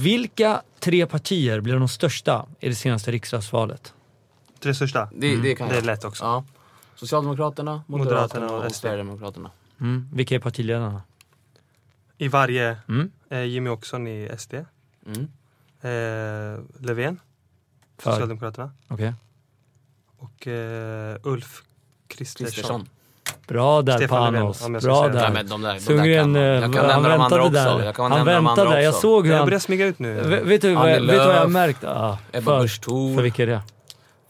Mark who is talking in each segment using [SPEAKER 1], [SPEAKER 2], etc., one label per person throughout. [SPEAKER 1] Vilka tre partier blev de största i det senaste riksdagsvalet?
[SPEAKER 2] Tre största.
[SPEAKER 3] Det,
[SPEAKER 1] Mm.
[SPEAKER 3] det kan
[SPEAKER 2] Det är
[SPEAKER 3] jag.
[SPEAKER 2] lätt också.
[SPEAKER 3] Ja. Socialdemokraterna,
[SPEAKER 2] Moderaterna
[SPEAKER 3] Moderaterna
[SPEAKER 2] och
[SPEAKER 3] och
[SPEAKER 2] SD.
[SPEAKER 3] Sverigedemokraterna.
[SPEAKER 1] Mm. Vilka är partiledarna?
[SPEAKER 2] I varje...
[SPEAKER 1] Mm.
[SPEAKER 2] Eh, Jimmy Åkesson i SD.
[SPEAKER 3] Mm.
[SPEAKER 2] Eh, Löfven,
[SPEAKER 1] För?
[SPEAKER 2] Socialdemokraterna.
[SPEAKER 1] Okej.
[SPEAKER 2] Och eh, Ulf Kristersson.
[SPEAKER 3] Kristersson.
[SPEAKER 1] Bra där
[SPEAKER 2] Stefan Löfven,
[SPEAKER 1] Panos.
[SPEAKER 2] om jag ska
[SPEAKER 1] Bra
[SPEAKER 2] säga det.
[SPEAKER 3] Nej,
[SPEAKER 1] där.
[SPEAKER 3] men de där, de där kan
[SPEAKER 1] Sundgren, eh,
[SPEAKER 3] man. Jag kan
[SPEAKER 1] han
[SPEAKER 3] nämna de andra
[SPEAKER 1] väntade
[SPEAKER 3] också.
[SPEAKER 1] där.
[SPEAKER 3] Jag kan
[SPEAKER 1] han
[SPEAKER 3] nämna de
[SPEAKER 1] väntade
[SPEAKER 3] andra
[SPEAKER 1] där. Jag
[SPEAKER 3] också.
[SPEAKER 1] såg hur
[SPEAKER 2] Jag
[SPEAKER 1] han...
[SPEAKER 2] börjar smyga ut nu.
[SPEAKER 1] Vet, vet, du, vad,
[SPEAKER 3] Annie
[SPEAKER 1] vet du vad jag
[SPEAKER 3] Lööf,
[SPEAKER 1] märkt? Ah,
[SPEAKER 3] Ebba
[SPEAKER 1] för,
[SPEAKER 3] Busch Thor
[SPEAKER 1] för vilka är det?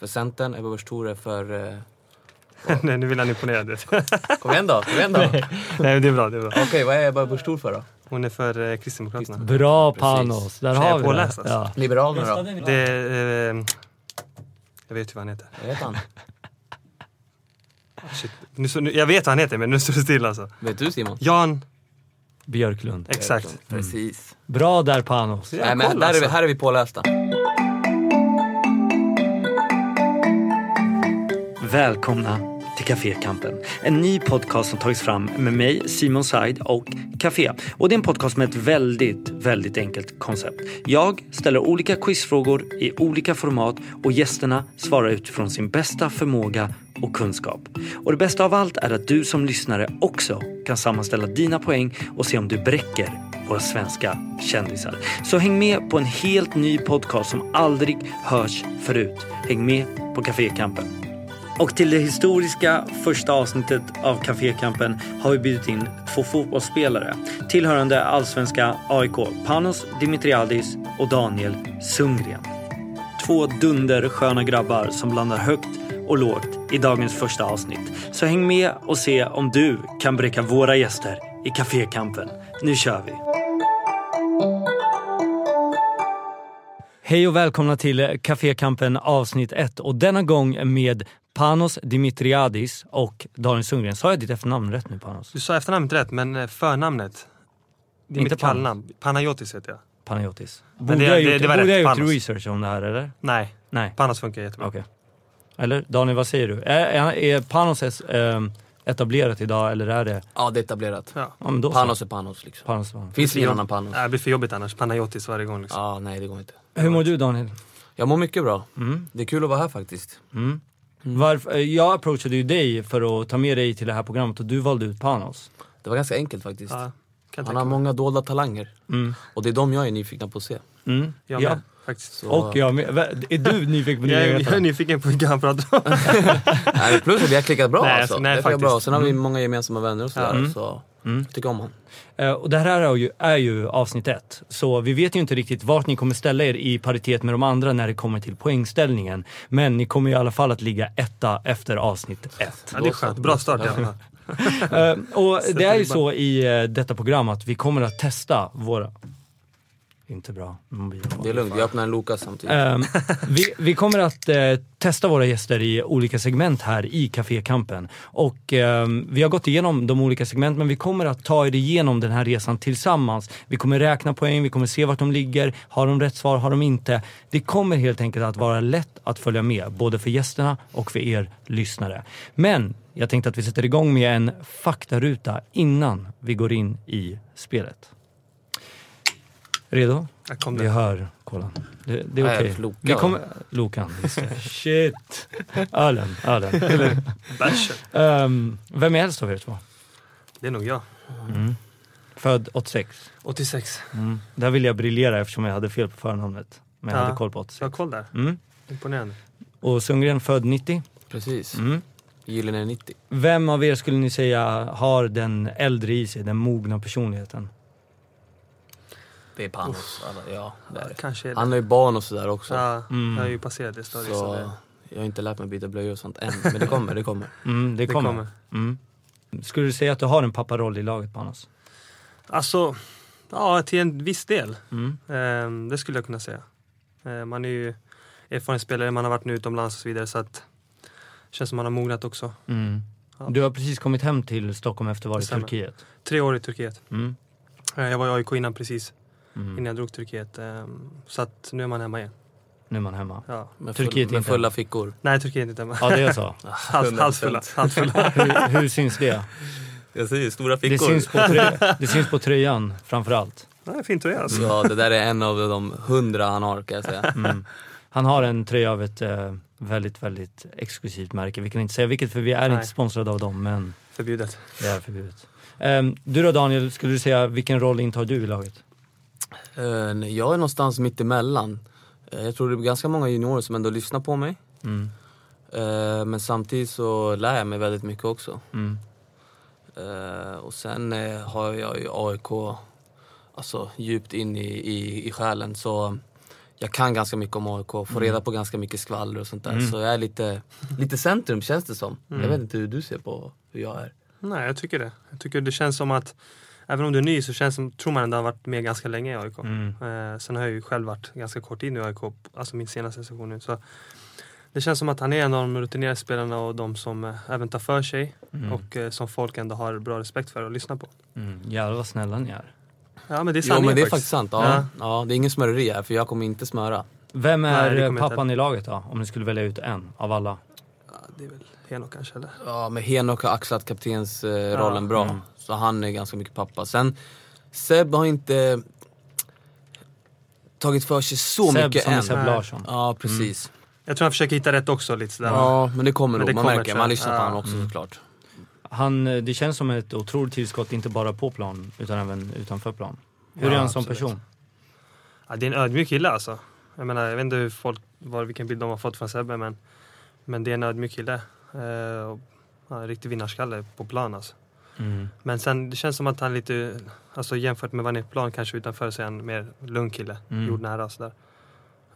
[SPEAKER 3] för Centern, Ebba Busch Thor är för... eh,
[SPEAKER 2] Nej, nu vill han imponera. du vet. Nej,
[SPEAKER 3] Kom igen då, kom igen då. Okej,
[SPEAKER 2] men det är bra. Det är bra.
[SPEAKER 3] vad är Ebba Busch Thor för då?
[SPEAKER 2] Hon är för eh, Kristdemokraterna.
[SPEAKER 1] Bra
[SPEAKER 3] Precis.
[SPEAKER 1] Panos. Där
[SPEAKER 2] Så jag
[SPEAKER 1] har vi
[SPEAKER 2] påläst,
[SPEAKER 1] det. Ja.
[SPEAKER 2] alltså.
[SPEAKER 3] Liberalerna då?
[SPEAKER 2] Det är... Eh, jag vet ju vad han heter.
[SPEAKER 3] Vad heter han?
[SPEAKER 2] Shit. Nu, så, nu, jag vet vad han heter, men nu står det still alltså.
[SPEAKER 3] Vet du Simon?
[SPEAKER 2] Jan,
[SPEAKER 1] Björklund.
[SPEAKER 2] exakt.
[SPEAKER 3] Precis.
[SPEAKER 1] Bra där Panos.
[SPEAKER 2] Ja,
[SPEAKER 3] Nej, men
[SPEAKER 2] kolla,
[SPEAKER 3] där är vi,
[SPEAKER 2] alltså.
[SPEAKER 3] här är vi pålästa.
[SPEAKER 4] Välkomna till Cafékampen. En ny podcast som tagits fram med mig, Simon Said och Café. Och det är en podcast med ett väldigt, väldigt enkelt koncept. Jag ställer olika quizfrågor i olika format och gästerna svarar utifrån sin bästa förmåga och kunskap. Och det bästa av allt är att du som lyssnare också kan sammanställa dina poäng och se om du bräcker våra svenska kändisar. Så häng med på en helt ny podcast som aldrig hörs förut. Häng med på Cafékampen. Och till det historiska första avsnittet av Cafékampen har vi bjudit in två fotbollsspelare tillhörande allsvenska AIK, Panos Dimitriadis och Daniel Sundgren. Två dundersköna grabbar som blandar högt och lågt i dagens första avsnitt. Så häng med och se om du kan bräcka våra gäster i Cafékampen. Nu kör vi!
[SPEAKER 1] Hej och välkomna till Cafékampen avsnitt 1 och denna gång med Panos Dimitriadis och Daniel Sundgren. Sa jag ditt efternamn rätt nu Panos?
[SPEAKER 2] Du sa efternamnet rätt, men eh, förnamnet. Det är
[SPEAKER 1] Inte
[SPEAKER 2] mitt kallnamn. Panayotis heter jag.
[SPEAKER 1] Panayotis.
[SPEAKER 2] Men
[SPEAKER 1] Borde
[SPEAKER 2] det-
[SPEAKER 1] jag
[SPEAKER 2] det-
[SPEAKER 1] gjort,
[SPEAKER 2] det var
[SPEAKER 1] borde
[SPEAKER 2] rätt,
[SPEAKER 1] jag gjort
[SPEAKER 2] Panos.
[SPEAKER 1] research om det här eller?
[SPEAKER 2] Nej,
[SPEAKER 1] Nej,
[SPEAKER 2] Panos funkar jättebra.
[SPEAKER 1] okej. Eller Daniel, vad säger du? Är, är, är Panos eh, etablerat idag eller är det...
[SPEAKER 3] Ja, det är etablerat.
[SPEAKER 2] Ja.
[SPEAKER 1] Ja, men då så.
[SPEAKER 3] Panos är Panos liksom.
[SPEAKER 1] Panos, Panos.
[SPEAKER 3] Finns det ingen annan Panos?
[SPEAKER 2] Nej, Det blir för jobbigt annars. Panayotis varje gång. Liksom.
[SPEAKER 3] Ja, nej det går inte.
[SPEAKER 1] Hur mår du Daniel?
[SPEAKER 2] Mm.
[SPEAKER 3] Jag mår mycket bra.
[SPEAKER 1] Mm.
[SPEAKER 3] Det är kul att vara här faktiskt.
[SPEAKER 1] Varför, eh, jag approachade ju dig för att ta med dig till det här programmet och du valde ut Panos.
[SPEAKER 3] Det var ganska enkelt faktiskt.
[SPEAKER 2] Ja, kan
[SPEAKER 3] Han har
[SPEAKER 2] tänka.
[SPEAKER 3] många dolda talanger.
[SPEAKER 1] Mm.
[SPEAKER 3] Och det är de jag är nyfiken på att se.
[SPEAKER 1] Mm.
[SPEAKER 2] Jag
[SPEAKER 1] ja.
[SPEAKER 2] med, faktiskt.
[SPEAKER 3] Så...
[SPEAKER 1] Och jag med. Va- Är du nyfiken på
[SPEAKER 2] Jag
[SPEAKER 1] nya
[SPEAKER 2] är, jag är
[SPEAKER 1] vetare?
[SPEAKER 2] nyfiken på vilka han pratar om.
[SPEAKER 3] Nej, men plus att vi har klickat bra
[SPEAKER 2] Nej,
[SPEAKER 3] alltså.
[SPEAKER 2] alltså, nej,
[SPEAKER 3] det är bra.
[SPEAKER 2] faktiskt.
[SPEAKER 3] Sen har vi många gemensamma vänner och sådär.
[SPEAKER 1] Mm.
[SPEAKER 3] Så
[SPEAKER 1] Mm.
[SPEAKER 3] jag tycker om honom.
[SPEAKER 1] Eh, Och det här är ju, är ju avsnitt ett, så vi vet ju inte riktigt vart ni kommer ställa er i paritet med de andra när det kommer till poängställningen. Men ni kommer i alla fall att ligga etta efter avsnitt ett.
[SPEAKER 2] Ja, det är skönt. Bra start i alla fall.
[SPEAKER 1] Eh, Och det är ju
[SPEAKER 2] ribban.
[SPEAKER 1] så i eh, detta program att vi kommer att testa våra... Inte bra. mobilen var-
[SPEAKER 3] Det är lugnt, jag öppnar en Loka samtidigt.
[SPEAKER 1] Ehm, vi, vi kommer att eh, testa våra gäster i olika segment här i Cafékampen. Och ehm, vi har gått igenom de olika segmenten men vi kommer att ta er igenom den här resan tillsammans. Vi kommer räkna poäng, vi kommer se vart de ligger. Har de rätt svar, har de inte? Det kommer helt enkelt att vara lätt att följa med, både för gästerna och för er lyssnare. Men jag tänkte att vi sätter igång med en faktaruta innan vi går in i spelet. Redo?
[SPEAKER 2] Här kom
[SPEAKER 1] Vi
[SPEAKER 2] den.
[SPEAKER 1] hör kolan. Det, det är
[SPEAKER 3] Nej,
[SPEAKER 1] okej.
[SPEAKER 3] Lokan.
[SPEAKER 1] Vi kommer... Lokan, just det. Shit! Ölen, ölen.
[SPEAKER 2] Bärsen.
[SPEAKER 1] Ehm, vem är äldst av er två?
[SPEAKER 2] Det är nog jag.
[SPEAKER 1] Född 86.
[SPEAKER 2] 86.
[SPEAKER 1] Mm. Där vill jag briljera eftersom jag hade fel på förnamnet. Men jag
[SPEAKER 2] Ja.
[SPEAKER 1] hade koll på
[SPEAKER 2] Så jag
[SPEAKER 1] 86.
[SPEAKER 2] har koll där.
[SPEAKER 1] Mm.
[SPEAKER 2] Imponerande.
[SPEAKER 1] Och Sundgren född 90.
[SPEAKER 3] Precis.
[SPEAKER 1] Mm.
[SPEAKER 3] Gyllene 90.
[SPEAKER 1] Vem av er skulle ni säga har den äldre i sig, den mogna personligheten?
[SPEAKER 3] Det är Panos. Alla, ja, det är. det.
[SPEAKER 2] Kanske är det.
[SPEAKER 3] Han har ju barn och sådär också.
[SPEAKER 2] Ja,
[SPEAKER 1] Mm.
[SPEAKER 2] Jag har ju passerat det stadiet. Så
[SPEAKER 3] så
[SPEAKER 2] det,
[SPEAKER 3] jag har inte lärt mig byta blöjor och sånt än. Men det kommer, det kommer.
[SPEAKER 1] Mm, det
[SPEAKER 2] det
[SPEAKER 1] kommer.
[SPEAKER 2] kommer.
[SPEAKER 1] Mm. Skulle du säga att du har en papparoll i laget, Panos?
[SPEAKER 2] Alltså, ja till en viss del.
[SPEAKER 1] Mm.
[SPEAKER 2] Ehm, det skulle jag kunna säga. Ehm, man är ju erfaren spelare, man har varit nu utomlands och så vidare så att känns som man har mognat också.
[SPEAKER 1] Mm.
[SPEAKER 2] Ja.
[SPEAKER 1] Du har precis kommit hem till Stockholm efter att ha varit i
[SPEAKER 2] Stämmer.
[SPEAKER 1] Turkiet.
[SPEAKER 2] Tre år i Turkiet.
[SPEAKER 1] Mm.
[SPEAKER 2] Ehm, jag var i AIK innan precis,
[SPEAKER 1] Mm.
[SPEAKER 2] innan jag drog till Turkiet. Ehm, så att nu är man hemma igen.
[SPEAKER 1] Nu är man hemma.
[SPEAKER 2] Ja.
[SPEAKER 3] Med,
[SPEAKER 1] Turkiet
[SPEAKER 3] full, med
[SPEAKER 1] inte.
[SPEAKER 3] fulla fickor.
[SPEAKER 2] Nej, Turkiet är inte hemma.
[SPEAKER 1] Ja, det är så.
[SPEAKER 2] Hals, halsfulla. halsfulla.
[SPEAKER 1] Hur, hur syns det?
[SPEAKER 3] Jag säger stora
[SPEAKER 1] Det syns, på trö- det syns på tröjan framförallt.
[SPEAKER 2] Det är fin tröja alltså.
[SPEAKER 3] Ja, det där är en av de hundra han har kan jag säga.
[SPEAKER 1] Han har en tröja av ett eh, väldigt, väldigt exklusivt märke. Vi kan inte säga vilket för vi är
[SPEAKER 2] Nej.
[SPEAKER 1] inte sponsrade av dem, men
[SPEAKER 2] Förbjudet.
[SPEAKER 1] det är förbjudet. Ehm, du då Daniel, skulle du säga vilken roll intar du i laget?
[SPEAKER 3] Eh, nej, Jag är någonstans mitt emellan. Eh, Jag tror det är ganska många juniorer som ändå lyssnar på mig.
[SPEAKER 1] Mm.
[SPEAKER 3] Eh, Men samtidigt så lär jag mig väldigt mycket också.
[SPEAKER 1] Mm.
[SPEAKER 3] Eh, Och sen eh, har jag ju AIK alltså, djupt in i, i, i själen. Så jag kan ganska mycket om AIK, får reda på ganska mycket skvaller och sånt där. Så jag är lite, lite centrum känns det som. Jag vet inte hur du ser på hur jag är.
[SPEAKER 2] Nej, jag tycker det. Jag tycker det känns som att Även om du är ny så känns det som, tror man ändå har varit med ganska länge i
[SPEAKER 3] Mm.
[SPEAKER 2] AIK.
[SPEAKER 1] Mm.
[SPEAKER 2] Eh, sen har jag ju själv varit ganska kort in i AIK, alltså min senaste session nu. Så det känns som att han är en av de rutinerade spelarna och de som eh, även tar för sig
[SPEAKER 3] Mm.
[SPEAKER 2] och eh, som folk ändå har bra respekt för och lyssnar på.
[SPEAKER 1] Mm. Jävlar vad snälla ni är.
[SPEAKER 2] Ja men det är
[SPEAKER 3] Jo
[SPEAKER 2] sanningen
[SPEAKER 3] men det är faktiskt
[SPEAKER 2] faktiskt.
[SPEAKER 3] sant. Ja, ja. det är ingen smöreri här för jag kommer inte smöra.
[SPEAKER 1] Vem är
[SPEAKER 2] Nej, det
[SPEAKER 1] eh,
[SPEAKER 2] kommer jag
[SPEAKER 1] pappan i laget då? Om ni skulle välja ut en av alla.
[SPEAKER 2] Ja, det är väl Henok kanske eller?
[SPEAKER 3] Ja, men Henok har axlat kaptensrollen rollen bra.
[SPEAKER 1] Mm.
[SPEAKER 3] Så han är ganska mycket pappa. Sen, Seb har inte tagit för sig så
[SPEAKER 1] Seb
[SPEAKER 3] mycket
[SPEAKER 1] som är
[SPEAKER 3] än.
[SPEAKER 1] Seb Mm.
[SPEAKER 2] Nej.
[SPEAKER 1] Larsson.
[SPEAKER 3] Ja, precis.
[SPEAKER 2] Jag tror han försöker hitta rätt också lite sådär.
[SPEAKER 3] Ja, men det kommer
[SPEAKER 2] Men
[SPEAKER 3] nog.
[SPEAKER 2] det
[SPEAKER 3] man
[SPEAKER 2] kommer,
[SPEAKER 3] märker.
[SPEAKER 2] tror
[SPEAKER 3] Man
[SPEAKER 2] jag.
[SPEAKER 3] lyssnar på
[SPEAKER 2] Ja.
[SPEAKER 3] honom också
[SPEAKER 1] Mm.
[SPEAKER 3] såklart.
[SPEAKER 1] Han, eh, det känns som ett otroligt tillskott, inte bara på plan utan även utanför plan. Hur är
[SPEAKER 2] Ja,
[SPEAKER 1] han som
[SPEAKER 2] absolut.
[SPEAKER 1] person?
[SPEAKER 2] Ja, det är en ödmjuk kille alltså. Jag menar, jag vet inte hur folk, var, vilken bild de har fått från Sebbe, men, men det är en ödmjuk kille. Eh, och, han är en riktig vinnarskalle på plan alltså. Men sen, det känns som att han lite, alltså jämfört med vad han är på plan, kanske utanför så är han mer lugn kille.
[SPEAKER 1] Mm.
[SPEAKER 2] Jordnära och sådär.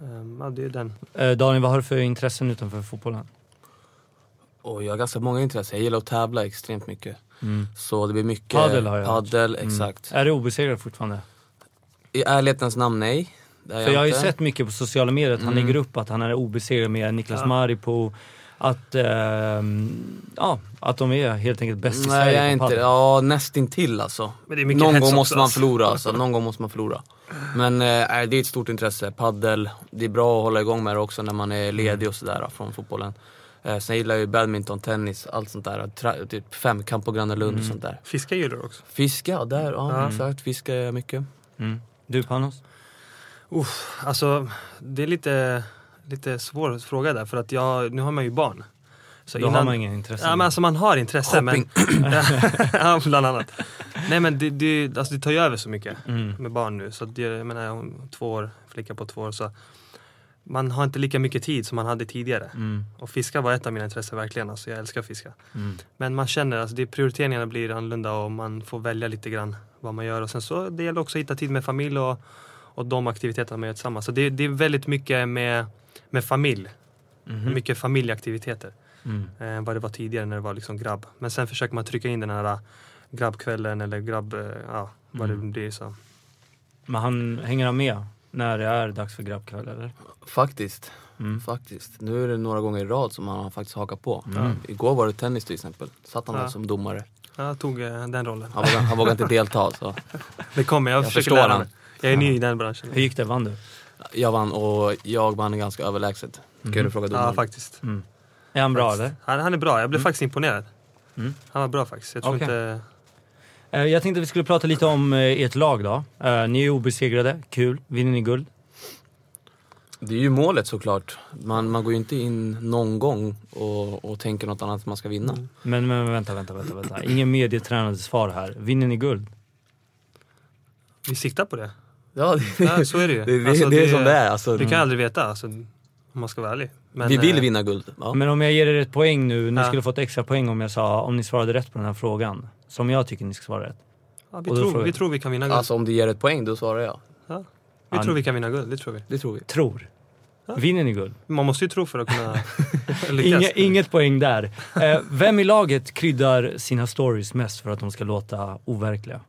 [SPEAKER 2] Eh, ja, det är den.
[SPEAKER 1] Eh, Daniel, vad har du för intressen utanför fotbollen?
[SPEAKER 3] Och jag har ganska många intressen. Jag gillar att tävla extremt mycket. Så det blir mycket
[SPEAKER 1] Padel Mm. har jag hört. Mm.
[SPEAKER 3] padel, exakt.
[SPEAKER 1] Är du obesegrad fortfarande?
[SPEAKER 3] I ärlighetens namn, nej. Det är
[SPEAKER 1] För jag har ju
[SPEAKER 3] inte.
[SPEAKER 1] sett mycket på sociala medier att han lägger upp att han är obesegrad med Niklas
[SPEAKER 2] Mm. Ja.
[SPEAKER 1] Maripo. Att, ehm, ja, att de är helt enkelt bäst i
[SPEAKER 3] Nej,
[SPEAKER 1] Sverige
[SPEAKER 3] jag är
[SPEAKER 1] på
[SPEAKER 3] inte
[SPEAKER 1] padel.
[SPEAKER 3] Ja, nästintill alltså.
[SPEAKER 2] Men det är mycket
[SPEAKER 3] Någon
[SPEAKER 2] hets
[SPEAKER 3] gång
[SPEAKER 2] också,
[SPEAKER 3] måste man
[SPEAKER 2] alltså.
[SPEAKER 3] förlora alltså. Någon gång måste man förlora. Men eh, nej, det är ett stort intresse. Paddel. Det är bra att hålla igång med det också när man är ledig och sådär från fotbollen. Eh, sen gillar jag ju badminton, tennis, allt sånt där. Tra- typ femkamp på Gröna Lund och sånt där.
[SPEAKER 2] Fiska gillar du också.
[SPEAKER 3] Fiska, ja, där, ja,
[SPEAKER 2] Mm. Ja.
[SPEAKER 3] exakt. Fiska gör jag mycket.
[SPEAKER 1] Mm. Du Panos?
[SPEAKER 2] Uff, alltså, det är lite, lite svår fråga där, för att jag, nu har man ju barn. Så
[SPEAKER 1] Då har man ingen intresse.
[SPEAKER 2] Ja, men alltså man har intresse
[SPEAKER 3] Shopping.
[SPEAKER 2] men... ja, bland annat. Nej men det, det, alltså, det tar ju över så mycket
[SPEAKER 1] Mm.
[SPEAKER 2] med barn nu. Så att det, jag menar, hon- två år, flicka på två år. Så man har inte lika mycket tid som man hade tidigare.
[SPEAKER 1] Mm.
[SPEAKER 2] Och fiska var ett av mina intressen verkligen. Alltså, jag älskar att fiska.
[SPEAKER 1] Mm.
[SPEAKER 2] Men man känner att alltså, det- prioriteringarna blir annorlunda och man får välja lite grann vad man gör. Och sen så det gäller också att hitta tid med familj och, och de aktiviteterna man gör tillsammans. Så det, det är väldigt mycket med, med familj.
[SPEAKER 1] Mhm.
[SPEAKER 2] Mycket familjeaktiviteter
[SPEAKER 1] Mm.
[SPEAKER 2] eh, vad det var tidigare när det var liksom grabb. Men sen försöker man trycka in den här eh, grabbkvällen eller grabb, eh, ja vad
[SPEAKER 1] Mm.
[SPEAKER 2] det blir. Så.
[SPEAKER 1] Men han hänger han med när det är dags för grabbkväll eller?
[SPEAKER 3] Faktiskt.
[SPEAKER 1] Mm.
[SPEAKER 3] Faktiskt. Nu är det några gånger i rad som han har faktiskt hakat på.
[SPEAKER 1] Mm.
[SPEAKER 3] Igår var det tennis till exempel. Satt han där
[SPEAKER 2] Ja.
[SPEAKER 3] som domare.
[SPEAKER 2] Ja, Jag tog eh, den rollen.
[SPEAKER 3] Han vågade, han vågade inte delta. alltså. Så.
[SPEAKER 2] Det kommer, jag,
[SPEAKER 3] Jag
[SPEAKER 2] försöker
[SPEAKER 3] förstår
[SPEAKER 2] lära
[SPEAKER 3] han.
[SPEAKER 2] mig. Jag är ny i den branschen.
[SPEAKER 1] Hur gick det? Vann du?
[SPEAKER 3] Jag vann och jag vann ganska överlägset. Ska du fråga domaren?
[SPEAKER 2] Ja, faktiskt.
[SPEAKER 1] Mm. Är han bra
[SPEAKER 2] Faktiskt.
[SPEAKER 1] eller?
[SPEAKER 2] Han, han är bra, jag blev faktiskt imponerad.
[SPEAKER 1] Mm.
[SPEAKER 2] Han var bra faktiskt. Jag tror
[SPEAKER 1] Okej.
[SPEAKER 2] inte...
[SPEAKER 1] Eh, Jag tänkte att vi skulle prata lite om eh, ert lag då. Eh, Ni är obesegrade, kul. Vinner ni guld?
[SPEAKER 3] Det är ju målet såklart. Man, man går ju inte in någon gång och, och tänker något annat man ska vinna.
[SPEAKER 1] Men, men men vänta, vänta, vänta. vänta. Ingen medietränade svar här. Vinner ni guld?
[SPEAKER 2] Vi siktar på det.
[SPEAKER 3] Ja, det,
[SPEAKER 2] Ja, så är det ju.
[SPEAKER 3] det, det,
[SPEAKER 2] Alltså,
[SPEAKER 3] det är som det är.
[SPEAKER 1] Mm.
[SPEAKER 3] Alltså,
[SPEAKER 2] Det kan jag aldrig veta alltså, om man ska vara ärlig. Men,
[SPEAKER 3] vi vill
[SPEAKER 2] eh,
[SPEAKER 3] vinna guld. Ja.
[SPEAKER 1] Men om jag ger er ett poäng nu, ni
[SPEAKER 2] Ja.
[SPEAKER 1] skulle fått extra poäng om jag sa om ni svarade rätt på den här frågan. Som jag tycker ni ska svara rätt.
[SPEAKER 2] Ja, vi,
[SPEAKER 1] och då
[SPEAKER 2] tror,
[SPEAKER 1] frågar
[SPEAKER 2] vi
[SPEAKER 1] jag.
[SPEAKER 2] tror vi kan vinna guld.
[SPEAKER 3] Alltså om du ger ett poäng, då svarar jag.
[SPEAKER 2] Ja. Vi
[SPEAKER 1] Han-
[SPEAKER 2] tror vi kan vinna guld, det tror vi.
[SPEAKER 3] Det tror vi.
[SPEAKER 1] Tror. Vinner ni guld?
[SPEAKER 2] Man måste ju tro för att kunna lyckas.
[SPEAKER 1] Inge, inget poäng där. Eh, vem i laget kryddar sina stories mest för att de ska låta overkliga?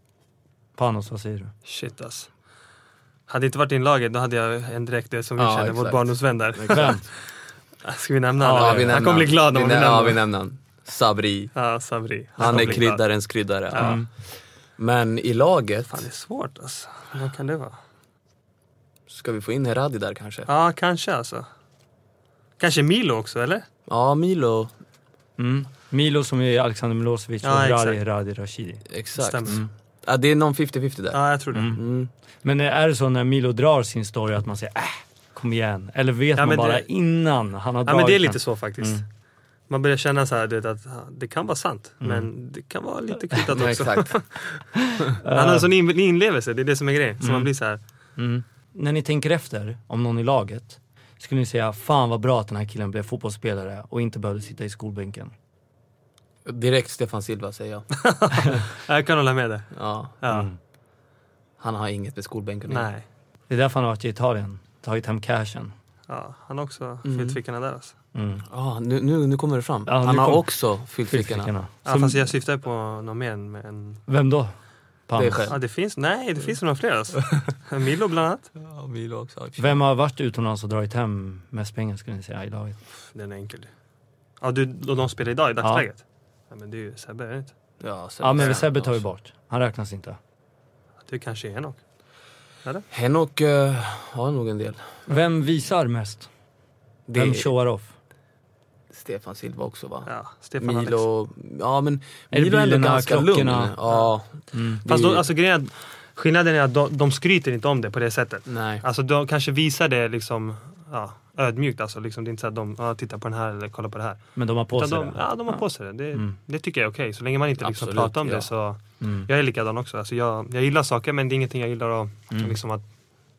[SPEAKER 1] Panos, vad säger du?
[SPEAKER 2] Shit ass. Hade det inte varit inlaget då hade jag en direkt det som vi
[SPEAKER 3] Ja,
[SPEAKER 2] känner, vår
[SPEAKER 3] exakt.
[SPEAKER 2] barndomsvän där.
[SPEAKER 1] Vem?
[SPEAKER 2] Ska vi nämna
[SPEAKER 1] Ja,
[SPEAKER 2] honom?
[SPEAKER 1] vi
[SPEAKER 2] Han kommer bli glad om vi
[SPEAKER 3] nämner Ja, vi
[SPEAKER 2] nämner honom.
[SPEAKER 3] nämner han. Sabri.
[SPEAKER 2] Ja, Sabri.
[SPEAKER 3] Han
[SPEAKER 2] kommer
[SPEAKER 3] är
[SPEAKER 2] bli glad.
[SPEAKER 3] kryddarens kryddare.
[SPEAKER 2] Ja.
[SPEAKER 1] Mm.
[SPEAKER 3] Ja. Men i laget,
[SPEAKER 2] Fan, det är svårt alltså. Vad kan det vara?
[SPEAKER 3] ska vi få in Heradi där kanske?
[SPEAKER 2] Ja, kanske alltså. Kanske Milo också, eller?
[SPEAKER 3] Ja, Milo.
[SPEAKER 1] Mm. Milo som är Alexander Milosevic och
[SPEAKER 2] Ja,
[SPEAKER 1] Radi
[SPEAKER 2] exakt.
[SPEAKER 1] Radi Rashidi.
[SPEAKER 3] Exakt.
[SPEAKER 2] Stämmer.
[SPEAKER 3] Mm. Ja, det är någon 50-50 där.
[SPEAKER 2] Ja, jag tror det.
[SPEAKER 3] Mm.
[SPEAKER 1] Men är det så när Milo drar sin story att man säger äh, kom igen? Eller vet
[SPEAKER 2] Ja,
[SPEAKER 1] man
[SPEAKER 2] men
[SPEAKER 1] bara
[SPEAKER 2] det-
[SPEAKER 1] innan han har
[SPEAKER 2] Ja,
[SPEAKER 1] dragit
[SPEAKER 2] men det är
[SPEAKER 1] den?
[SPEAKER 2] lite så faktiskt.
[SPEAKER 3] Mm.
[SPEAKER 2] Man börjar känna så här, du vet, att ah, det kan vara sant, men det kan vara lite kryddat
[SPEAKER 3] Ja,
[SPEAKER 2] också.
[SPEAKER 3] exakt.
[SPEAKER 2] Han har en sån in- inlevelse, det är det som är grejen. Så man blir så här,
[SPEAKER 1] Mm. När ni tänker efter, om någon i laget, skulle ni säga fan vad bra att den här killen blev fotbollsspelare och inte behövde sitta i skolbänken?
[SPEAKER 3] Direkt Stefan Silva säger jag.
[SPEAKER 2] jag kan hålla med dig.
[SPEAKER 3] Ja,
[SPEAKER 2] Ja.
[SPEAKER 3] han har inget med skolbänken att göra.
[SPEAKER 2] Nej.
[SPEAKER 1] Mm. Det är därför han har varit i Italien, tagit hem cashen.
[SPEAKER 2] Ja, han har också fyllt fickorna där alltså.
[SPEAKER 1] Mm.
[SPEAKER 3] Ja, nu, nu, nu kommer det fram.
[SPEAKER 1] Ja, nu
[SPEAKER 3] han har
[SPEAKER 1] kom-
[SPEAKER 3] också fyllt fickorna.
[SPEAKER 1] Fyllt
[SPEAKER 2] Ja,
[SPEAKER 1] Som-
[SPEAKER 2] fast jag syftar på någon mer än... än
[SPEAKER 1] Vem då? Pans.
[SPEAKER 3] Det är själv.
[SPEAKER 2] ja, det finns, nej, det finns några fler alltså. Milo bland annat.
[SPEAKER 3] Ja, Milo också.
[SPEAKER 1] Vem har varit utomlands och dragit hem mest pengar skulle ni säga i laget?
[SPEAKER 2] Den är enkel. Ja, du, och de spelar idag i dagsläget? Ja. men det är ju Sebbe, är det inte?
[SPEAKER 3] Ja, Sebbe
[SPEAKER 1] Ja men
[SPEAKER 3] Sven
[SPEAKER 1] Sebbe tar vi
[SPEAKER 3] också.
[SPEAKER 1] bort. Han räknas inte.
[SPEAKER 2] Det kanske är Henok.
[SPEAKER 3] Henok eh, har nog en del.
[SPEAKER 1] Vem visar mest?
[SPEAKER 3] Det
[SPEAKER 1] Vem
[SPEAKER 3] är
[SPEAKER 1] showar off?
[SPEAKER 3] Stefan Silva också va?
[SPEAKER 2] Ja, Stefan Alex.
[SPEAKER 3] Milo, ja men
[SPEAKER 1] Är det
[SPEAKER 3] Milo är ändå
[SPEAKER 1] bilarna,
[SPEAKER 3] ganska
[SPEAKER 1] klockorna?
[SPEAKER 3] lugn. Ja, det
[SPEAKER 2] Fast
[SPEAKER 3] är-
[SPEAKER 2] då, alltså, grejen är att skillnaden är att de, de skryter inte om det på det sättet.
[SPEAKER 3] nej.
[SPEAKER 2] Alltså de kanske visar det liksom ja, ödmjukt alltså. Liksom, det är inte så att de ja, tittar på den här eller kollar på det här.
[SPEAKER 1] Men de har på
[SPEAKER 2] Utan
[SPEAKER 1] sig
[SPEAKER 2] de,
[SPEAKER 1] det.
[SPEAKER 2] ja, de har på sig det. Det,
[SPEAKER 1] Mm.
[SPEAKER 2] det tycker jag är okej. Så länge man inte liksom
[SPEAKER 3] Absolut,
[SPEAKER 2] pratar om
[SPEAKER 3] ja.
[SPEAKER 2] det så...
[SPEAKER 1] Mm.
[SPEAKER 2] Jag är likadan också. Alltså, jag, jag gillar saker men det är ingenting jag gillar att,
[SPEAKER 1] Mm.
[SPEAKER 2] liksom, att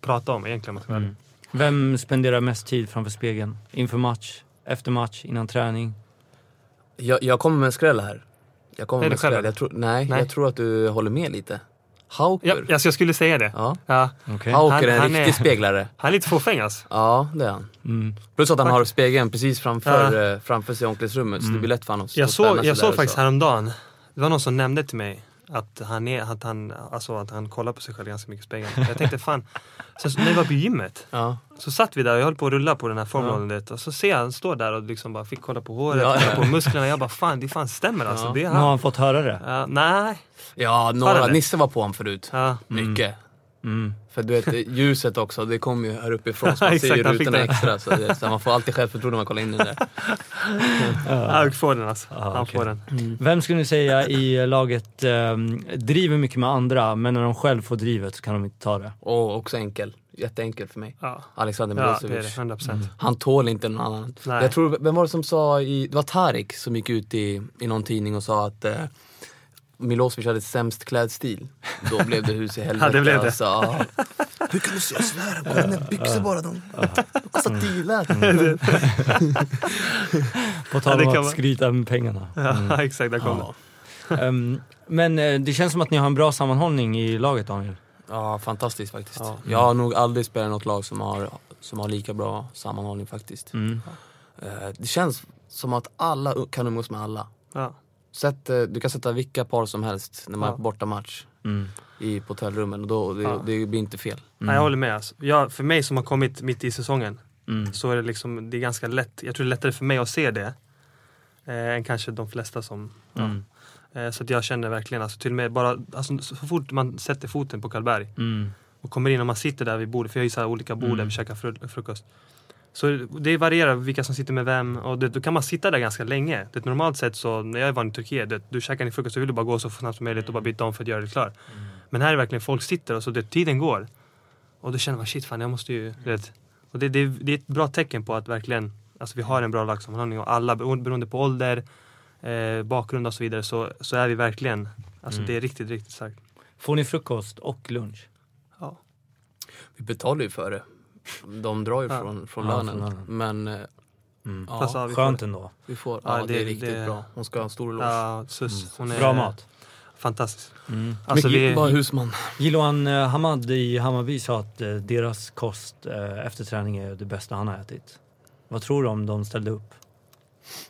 [SPEAKER 2] prata om egentligen. om jag ska vara ärlig.
[SPEAKER 1] Mm. Vem spenderar mest tid framför spegeln? Inför match, efter match, innan träning?
[SPEAKER 3] Jag, jag kommer med en skräll här. Jag
[SPEAKER 2] Är
[SPEAKER 3] kommer med
[SPEAKER 2] det
[SPEAKER 3] en skräll.
[SPEAKER 2] själv?
[SPEAKER 3] Jag tror, nej,
[SPEAKER 2] Nej.
[SPEAKER 3] jag tror att du håller med lite. Hauker.
[SPEAKER 2] Ja, alltså, jag skulle säga det.
[SPEAKER 3] Ja.
[SPEAKER 2] Ja.
[SPEAKER 1] Okej.
[SPEAKER 3] Hauker är en
[SPEAKER 2] han är-
[SPEAKER 3] riktig speglare.
[SPEAKER 2] Han är lite fåfäng alltså.
[SPEAKER 3] Ja, det är han.
[SPEAKER 1] Mm.
[SPEAKER 3] Plus att han har spegeln precis framför,
[SPEAKER 2] Ja. Mm.
[SPEAKER 3] eh, framför sig i omklädningsrummet, så det blir lätt för honom att stå
[SPEAKER 2] Jag
[SPEAKER 3] och ställa
[SPEAKER 2] såg,
[SPEAKER 3] sig
[SPEAKER 2] jag
[SPEAKER 3] där
[SPEAKER 2] såg
[SPEAKER 3] och
[SPEAKER 2] faktiskt
[SPEAKER 3] så.
[SPEAKER 2] häromdagen, det var någon som nämnde till mig att han, är, att han, alltså, att han kollar på sig själv ganska mycket i spegeln. Jag tänkte fan, sen så- när vi var på gymmet
[SPEAKER 3] Ja.
[SPEAKER 2] så satt vi där och jag höll på att rulla på den här formeln du vet. och så ser jag han står där och liksom bara fick kolla på håret,
[SPEAKER 3] Ja, ja.
[SPEAKER 2] kolla på musklerna. Jag bara fan, det fan stämmer alltså.
[SPEAKER 3] Ja.
[SPEAKER 2] Det är
[SPEAKER 1] Nu har
[SPEAKER 2] han.
[SPEAKER 1] han fått höra det.
[SPEAKER 2] Ja, nej.
[SPEAKER 3] ja,
[SPEAKER 2] Har
[SPEAKER 3] några.
[SPEAKER 2] han det?
[SPEAKER 3] Nisse var på honom förut.
[SPEAKER 2] Ja.
[SPEAKER 3] Mycket.
[SPEAKER 1] Mm.
[SPEAKER 3] För du vet, eh, ljuset också, det kommer ju här uppifrån så man
[SPEAKER 2] Exakt,
[SPEAKER 3] ser ju
[SPEAKER 2] han fick
[SPEAKER 3] rutorna
[SPEAKER 2] det.
[SPEAKER 3] extra. Så det, så man får alltid självförtroende när man kollar in den där.
[SPEAKER 2] Ja, jag får den alltså.
[SPEAKER 1] Ja,
[SPEAKER 2] Han
[SPEAKER 1] okej.
[SPEAKER 2] får den.
[SPEAKER 1] Vem skulle ni säga i laget eh, driver mycket med andra, men när de själv får drivet så kan de inte ta det?
[SPEAKER 3] Och också enkel. Jätteenkel för mig.
[SPEAKER 2] Ja.
[SPEAKER 3] Alexander
[SPEAKER 2] ja, det är
[SPEAKER 3] Milosevic.
[SPEAKER 2] det. 100 procent.
[SPEAKER 3] Han tål inte någon annan.
[SPEAKER 2] Nej.
[SPEAKER 3] Jag tror, vem var det som sa i, det var Tarik som gick ut i, i någon tidning och sa att eh, Milosevic hade sämst klädstil. Då blev det hus i helvete.
[SPEAKER 2] Ja, det blev det.
[SPEAKER 3] Alltså, ja. Hur kan du säga sådär? Kolla mina byxor bara. De, de kostar tio
[SPEAKER 1] På tal
[SPEAKER 2] det
[SPEAKER 1] om
[SPEAKER 2] kan
[SPEAKER 1] att
[SPEAKER 2] man-
[SPEAKER 1] skryta med pengarna.
[SPEAKER 2] Ja, exakt, där kom den.
[SPEAKER 1] Ehm, men eh, det känns som att ni har en bra sammanhållning i laget Daniel.
[SPEAKER 3] Ja, fantastiskt faktiskt. Jag har nog aldrig spelat i något lag som har, som har lika bra sammanhållning faktiskt.
[SPEAKER 1] Mm.
[SPEAKER 3] Eh, det känns som att alla kan umgås med alla.
[SPEAKER 2] Ja.
[SPEAKER 3] Sätt, eh, du kan sätta vilka par som helst när man
[SPEAKER 2] Ja.
[SPEAKER 3] är på bortamatch
[SPEAKER 1] Mm.
[SPEAKER 3] i, på hotellrummen och då, det,
[SPEAKER 2] Ja.
[SPEAKER 3] det blir inte fel.
[SPEAKER 2] Nej, jag håller med. Alltså. Jag, för mig som har kommit mitt i säsongen
[SPEAKER 1] Mm.
[SPEAKER 2] så är det liksom, det är ganska lätt. Jag tror det är lättare för mig att se det eh, än kanske de flesta som...
[SPEAKER 1] Mm.
[SPEAKER 2] Ja. Eh, så att jag känner verkligen, alltså, till och med bara, alltså, så fort man sätter foten på Karlberg
[SPEAKER 1] Mm.
[SPEAKER 2] och kommer in och man sitter där vid bordet, för jag har ju så här olika bord där
[SPEAKER 1] Mm.
[SPEAKER 2] vi käkar fru- frukost. Så det varierar vilka som sitter med vem och det, då kan man sitta där ganska länge. Det, normalt sett så, när jag var i Turkiet, det, du käkar din frukost så vill du bara gå så snabbt som möjligt och bara byta om för att göra det klar.
[SPEAKER 1] Mm.
[SPEAKER 2] Men här är det verkligen folk sitter och så det, tiden går. Och då känner man shit fan jag måste ju, du vet. Och det, det, det är ett bra tecken på att verkligen, alltså vi har en bra lagsammanhållning och alla bero- beroende på ålder, eh, bakgrund och så vidare så, så är vi verkligen, alltså
[SPEAKER 1] Mm.
[SPEAKER 2] det är riktigt, riktigt starkt.
[SPEAKER 1] Får ni frukost och lunch?
[SPEAKER 2] Ja.
[SPEAKER 3] Vi betalar ju för det. De drar ju
[SPEAKER 2] Ja.
[SPEAKER 3] från, från
[SPEAKER 1] Ja,
[SPEAKER 3] lönen.
[SPEAKER 1] från lönen.
[SPEAKER 3] Men eh,
[SPEAKER 1] Mm.
[SPEAKER 3] ja,
[SPEAKER 2] Fast, ja, vi får
[SPEAKER 1] Skönt ändå.
[SPEAKER 3] vi får,
[SPEAKER 2] Ja,
[SPEAKER 3] ja, det,
[SPEAKER 2] det-
[SPEAKER 3] är riktigt
[SPEAKER 2] det-
[SPEAKER 3] bra. Hon ska ha en stor eloge.
[SPEAKER 2] Ja, sus. Hon är
[SPEAKER 1] Mm. Bra mat.
[SPEAKER 2] fantastisk.
[SPEAKER 1] Mm.
[SPEAKER 2] Alltså
[SPEAKER 3] Mycket-
[SPEAKER 2] vi,
[SPEAKER 3] Bara husman.
[SPEAKER 1] Jiloan eh, Hamad i Hammarby sa att eh, deras kost eh, efter träning är det bästa han har ätit. Vad tror du om de ställde upp?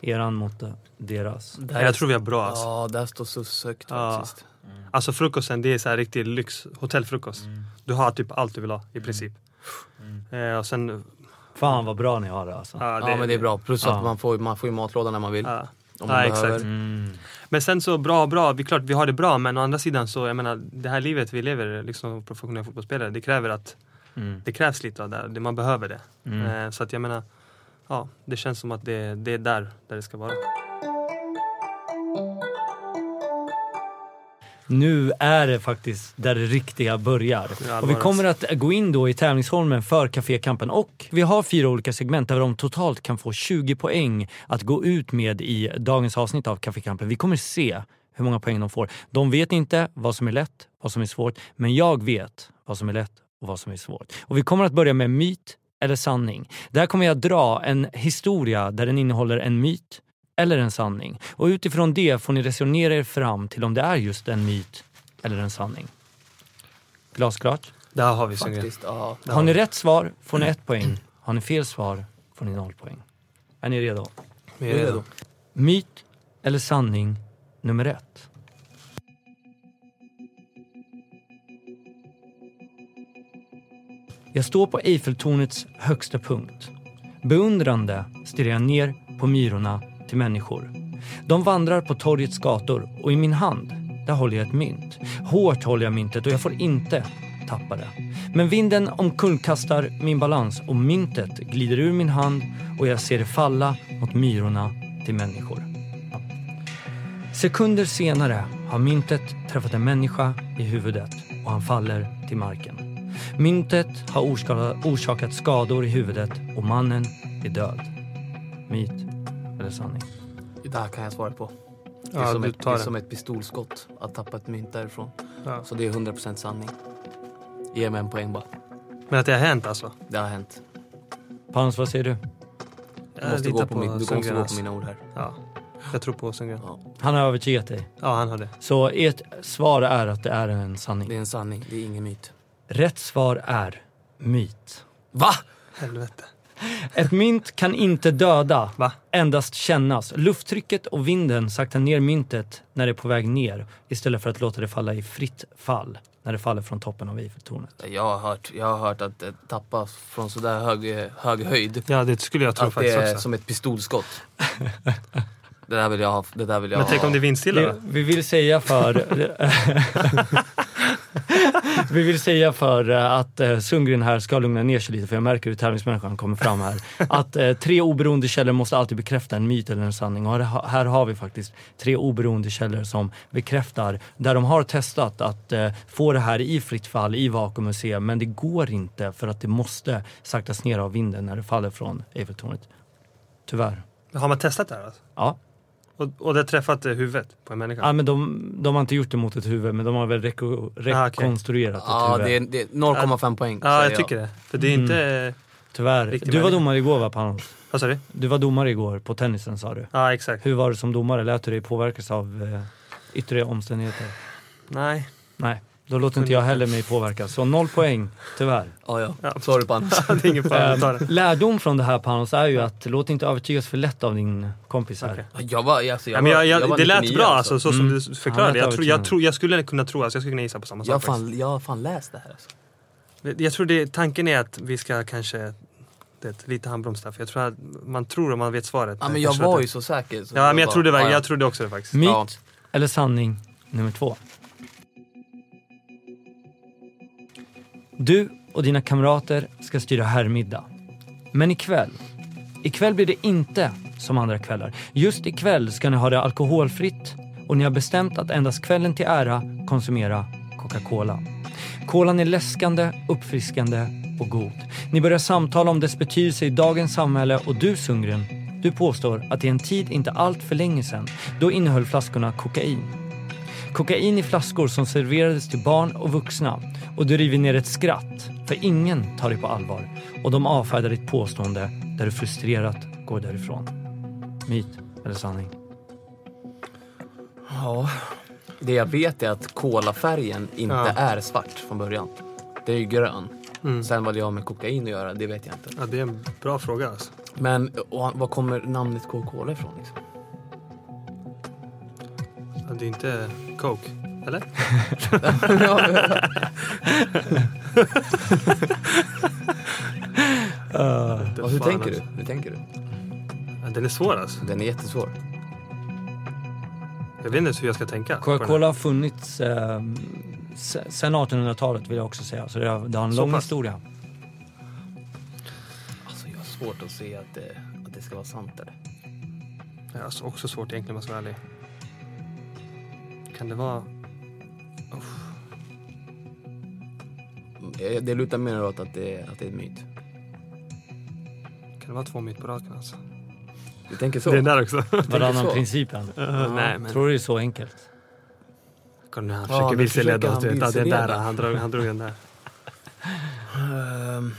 [SPEAKER 1] Eran mot eh, deras.
[SPEAKER 2] Nej, jag tror vi är bra alltså.
[SPEAKER 3] Ja, där står SUS högt
[SPEAKER 2] Ja.
[SPEAKER 3] faktiskt.
[SPEAKER 2] Alltså frukosten det är så här riktig lyx, hotellfrukost.
[SPEAKER 1] Mm.
[SPEAKER 2] Du har typ allt du vill ha i princip. Eh, och sen,
[SPEAKER 1] Fan vad bra ni har det alltså.
[SPEAKER 2] ja,
[SPEAKER 3] Ja, men det är bra. Plus
[SPEAKER 1] Ja.
[SPEAKER 3] att man får, man får ju matlådan när man vill.
[SPEAKER 2] Ja.
[SPEAKER 3] Om
[SPEAKER 2] Ja,
[SPEAKER 3] man
[SPEAKER 2] exakt.
[SPEAKER 3] behöver.
[SPEAKER 1] Mm.
[SPEAKER 2] Men sen så bra, bra, vi, klart vi har det bra men å andra sidan så, jag menar det här livet vi lever liksom professionella fotbollsspelare, det kräver att
[SPEAKER 1] Mm.
[SPEAKER 2] det krävs lite av det, här. Det- man behöver det.
[SPEAKER 1] Mm.
[SPEAKER 2] Eh, så att jag menar, ja det känns som att det, det är där, där det ska vara.
[SPEAKER 1] Nu är det faktiskt där det riktiga börjar.
[SPEAKER 2] Ja,
[SPEAKER 1] Och vi
[SPEAKER 2] bara-
[SPEAKER 1] kommer att gå in då i tävlingsformen för Cafékampen och vi har fyra olika segment där de totalt kan få 20 poäng att gå ut med i dagens avsnitt av Cafékampen. Vi kommer se hur många poäng de får. De vet inte vad som är lätt, vad som är svårt, men jag vet vad som är lätt och vad som är svårt. Och vi kommer att börja med myt eller sanning. Där kommer jag dra en historia där den innehåller en myt eller en sanning. Och utifrån det får ni resonera er fram till om det är just en myt eller en sanning. Glasklart?
[SPEAKER 2] Där har vi Sundgren.
[SPEAKER 3] Faktiskt, ja.
[SPEAKER 1] Har ni rätt svar får ni ett poäng. Har ni fel svar får ni noll poäng. Är ni redo?
[SPEAKER 2] Vi är redo.
[SPEAKER 1] Myt eller sanning nummer ett. Jag står på Eiffeltornets högsta punkt. Beundrande stirrar jag ner på myrorna till människor. De vandrar på torgets gator och i min hand, där håller jag ett mynt. Hårt håller jag myntet och jag får inte tappa det. Men vinden omkullkastar min balans och myntet glider ur min hand och jag ser det falla mot myrorna till människor. Sekunder senare har myntet träffat en människa i huvudet och han faller till marken. Myntet har orska- orsakat skador i huvudet och mannen är död. Myt eller sanning?
[SPEAKER 3] Det här kan jag svara på. Det är,
[SPEAKER 2] Ja,
[SPEAKER 3] som,
[SPEAKER 2] du
[SPEAKER 3] ett, det
[SPEAKER 2] tar
[SPEAKER 3] är
[SPEAKER 2] det.
[SPEAKER 3] som ett pistolskott att tappa ett mynt därifrån.
[SPEAKER 2] Ja.
[SPEAKER 3] Så det är 100% sanning. Ge mig en poäng bara.
[SPEAKER 2] Men att det har hänt alltså.
[SPEAKER 3] Det har hänt.
[SPEAKER 1] Pans, vad säger du?
[SPEAKER 3] Du måste,
[SPEAKER 2] litar
[SPEAKER 3] gå på, min, du måste
[SPEAKER 2] Sundgren,
[SPEAKER 3] gå på
[SPEAKER 2] alltså.
[SPEAKER 3] mina ord här.
[SPEAKER 2] Ja, jag tror på Sundgren.
[SPEAKER 3] Ja.
[SPEAKER 1] Han har övertygat dig.
[SPEAKER 2] Ja, han har det.
[SPEAKER 1] Så ert svar är att det är en sanning.
[SPEAKER 3] Det är en sanning, det är ingen myt.
[SPEAKER 1] Rätt svar är myt.
[SPEAKER 3] Va?
[SPEAKER 2] Helvete.
[SPEAKER 1] Ett mynt kan inte döda,
[SPEAKER 2] Va?
[SPEAKER 1] endast kännas. Lufttrycket och vinden saktar ner myntet när det är på väg ner istället för att låta det falla i fritt fall när det faller från toppen av Eiffeltornet.
[SPEAKER 3] Jag har hört, jag har hört att eh, tappa från sådär hög, hög höjd,
[SPEAKER 2] Ja, det skulle jag tro
[SPEAKER 3] att det
[SPEAKER 2] faktiskt
[SPEAKER 3] är
[SPEAKER 2] också.
[SPEAKER 3] som ett pistolskott. det där vill jag ha. Det där vill jag
[SPEAKER 2] Men
[SPEAKER 3] ha.
[SPEAKER 2] tänk om det är vindstilla
[SPEAKER 1] Det,
[SPEAKER 2] då?
[SPEAKER 1] vi vill säga för... vi vill säga för eh, att eh, Sundgren här ska lugna ner sig lite för jag märker hur tävlingsmänniskan kommer fram här. Att eh, tre oberoende källor måste alltid bekräfta en myt eller en sanning. Och här, här har vi faktiskt tre oberoende källor som bekräftar, där de har testat att eh, få det här i fritt fall, i vakuum och se, men det går inte för att det måste saktas ner av vinden när det faller från Eiffeltornet. Tyvärr.
[SPEAKER 2] Har man testat det här? Alltså?
[SPEAKER 1] Ja.
[SPEAKER 2] Och, och det har träffat eh, huvudet på en människa?
[SPEAKER 1] Ja, men de, de har inte gjort det mot ett huvud, men de har väl reko,
[SPEAKER 2] Ah, okej.
[SPEAKER 1] rekonstruerat
[SPEAKER 3] Ja,
[SPEAKER 1] ett
[SPEAKER 3] det är,
[SPEAKER 1] huvud.
[SPEAKER 3] det är 0,5 poäng.
[SPEAKER 2] ja,
[SPEAKER 3] säger Mm.
[SPEAKER 2] jag tycker det. För det är inte... eh,
[SPEAKER 1] Tyvärr.
[SPEAKER 2] Riktig
[SPEAKER 1] Du var
[SPEAKER 2] människa.
[SPEAKER 1] domare igår va, Panos?
[SPEAKER 2] Vad sa du?
[SPEAKER 1] Du var domare igår på tennisen sa du.
[SPEAKER 2] Ja, exakt.
[SPEAKER 1] Hur var det som domare? Lät du dig påverkas av eh, yttre omständigheter?
[SPEAKER 2] Nej.
[SPEAKER 1] Nej, då låter inte jag heller mig påverkas. Så noll poäng, tyvärr.
[SPEAKER 3] Ja, ja.
[SPEAKER 2] Ja.
[SPEAKER 3] Sorry Panos.
[SPEAKER 2] Ja, det är ingen fara. vi tar det.
[SPEAKER 1] Eh, lärdom från det här Panos är ju att låt inte övertygas för lätt av din kompis här.
[SPEAKER 2] Okej.
[SPEAKER 3] Jag var, alltså, jag
[SPEAKER 2] Ja, men
[SPEAKER 3] var,
[SPEAKER 2] jag,
[SPEAKER 3] jag var
[SPEAKER 2] jag, det lät
[SPEAKER 3] 99,
[SPEAKER 2] bra alltså, så som
[SPEAKER 1] Mm.
[SPEAKER 2] du förklarade.
[SPEAKER 1] Ja,
[SPEAKER 2] Jag,
[SPEAKER 1] lät
[SPEAKER 2] tror, jag,
[SPEAKER 1] övertygande.
[SPEAKER 2] tror, jag skulle kunna tro, alltså, jag skulle kunna gissa på samma
[SPEAKER 3] Jag har
[SPEAKER 2] sak. faktiskt.
[SPEAKER 3] fan, jag har fan läst det här. Alltså.
[SPEAKER 2] Jag tror det, tanken är att vi ska kanske det, lite handbroms där, för jag tror att man tror om man vet svaret.
[SPEAKER 3] Ja, men jag
[SPEAKER 2] tror att
[SPEAKER 3] var
[SPEAKER 2] det-
[SPEAKER 3] ju så säker. Så
[SPEAKER 2] Ja, men jag
[SPEAKER 3] bara,
[SPEAKER 2] trodde,
[SPEAKER 3] ja,
[SPEAKER 2] verkligen-
[SPEAKER 3] ja.
[SPEAKER 2] jag trodde också det faktiskt.
[SPEAKER 1] Myt
[SPEAKER 3] Ja.
[SPEAKER 1] eller sanning nummer två? Du och dina kamrater ska styra herrmiddag. Men ikväll, ikväll blir det inte som andra kvällar. Just ikväll ska ni ha det alkoholfritt och ni har bestämt att endast kvällen till ära konsumera Coca-Cola. Kolan är läskande, uppfriskande och god. Ni börjar samtala om dess betydelse i dagens samhälle och du Sundgren, du påstår att i en tid inte allt för länge sedan, då innehöll flaskorna kokain. Kokain i flaskor som serverades till barn och vuxna och du river ner ett skratt för ingen tar dig på allvar och de avfärdar ditt påstående där du frustrerat går därifrån. Myt eller sanning?
[SPEAKER 3] Ja. Det jag vet är att kolafärgen inte
[SPEAKER 2] Ja.
[SPEAKER 3] är svart från början. Det är ju grön. Sen vad det har med kokain att göra, det vet jag inte.
[SPEAKER 2] Mm. Ja, det är en bra fråga alltså.
[SPEAKER 3] Men och, var kommer namnet Coca-Cola ifrån? Liksom?
[SPEAKER 2] Ja, det är inte coke, eller?
[SPEAKER 3] Och hur
[SPEAKER 2] Fan,
[SPEAKER 3] tänker
[SPEAKER 2] alltså.
[SPEAKER 3] du? Hur tänker du?
[SPEAKER 2] Ja, den är svår alltså.
[SPEAKER 3] Den är jättesvår.
[SPEAKER 2] Jag vet inte ens hur jag ska tänka. på den här.
[SPEAKER 1] Coca-Cola har funnits eh, se- sen 1800-talet vill jag också säga, så det har, det har en
[SPEAKER 2] Så
[SPEAKER 1] lång
[SPEAKER 2] pass.
[SPEAKER 1] historia.
[SPEAKER 3] Alltså jag har svårt att se att det, att det ska vara sant eller?
[SPEAKER 2] Det är alltså också svårt egentligen om jag ska vara ärlig. Kan det vara...
[SPEAKER 3] Eh, Det lutar mer åt att det, att det är en myt.
[SPEAKER 2] Kan det vara två mitt på raken alltså?
[SPEAKER 3] Du tänker så?
[SPEAKER 2] Det är där också.
[SPEAKER 1] Varannan
[SPEAKER 3] så.
[SPEAKER 1] principen.
[SPEAKER 2] Nej men.
[SPEAKER 1] Tror du det är så enkelt?
[SPEAKER 2] Kolla nu, han
[SPEAKER 3] Ja,
[SPEAKER 2] försöker
[SPEAKER 3] nu försöker
[SPEAKER 2] vilseleda
[SPEAKER 3] han
[SPEAKER 2] oss. du vet, att Det är
[SPEAKER 3] vilseleda.
[SPEAKER 2] där han drog, han drog den där.
[SPEAKER 3] Ehm,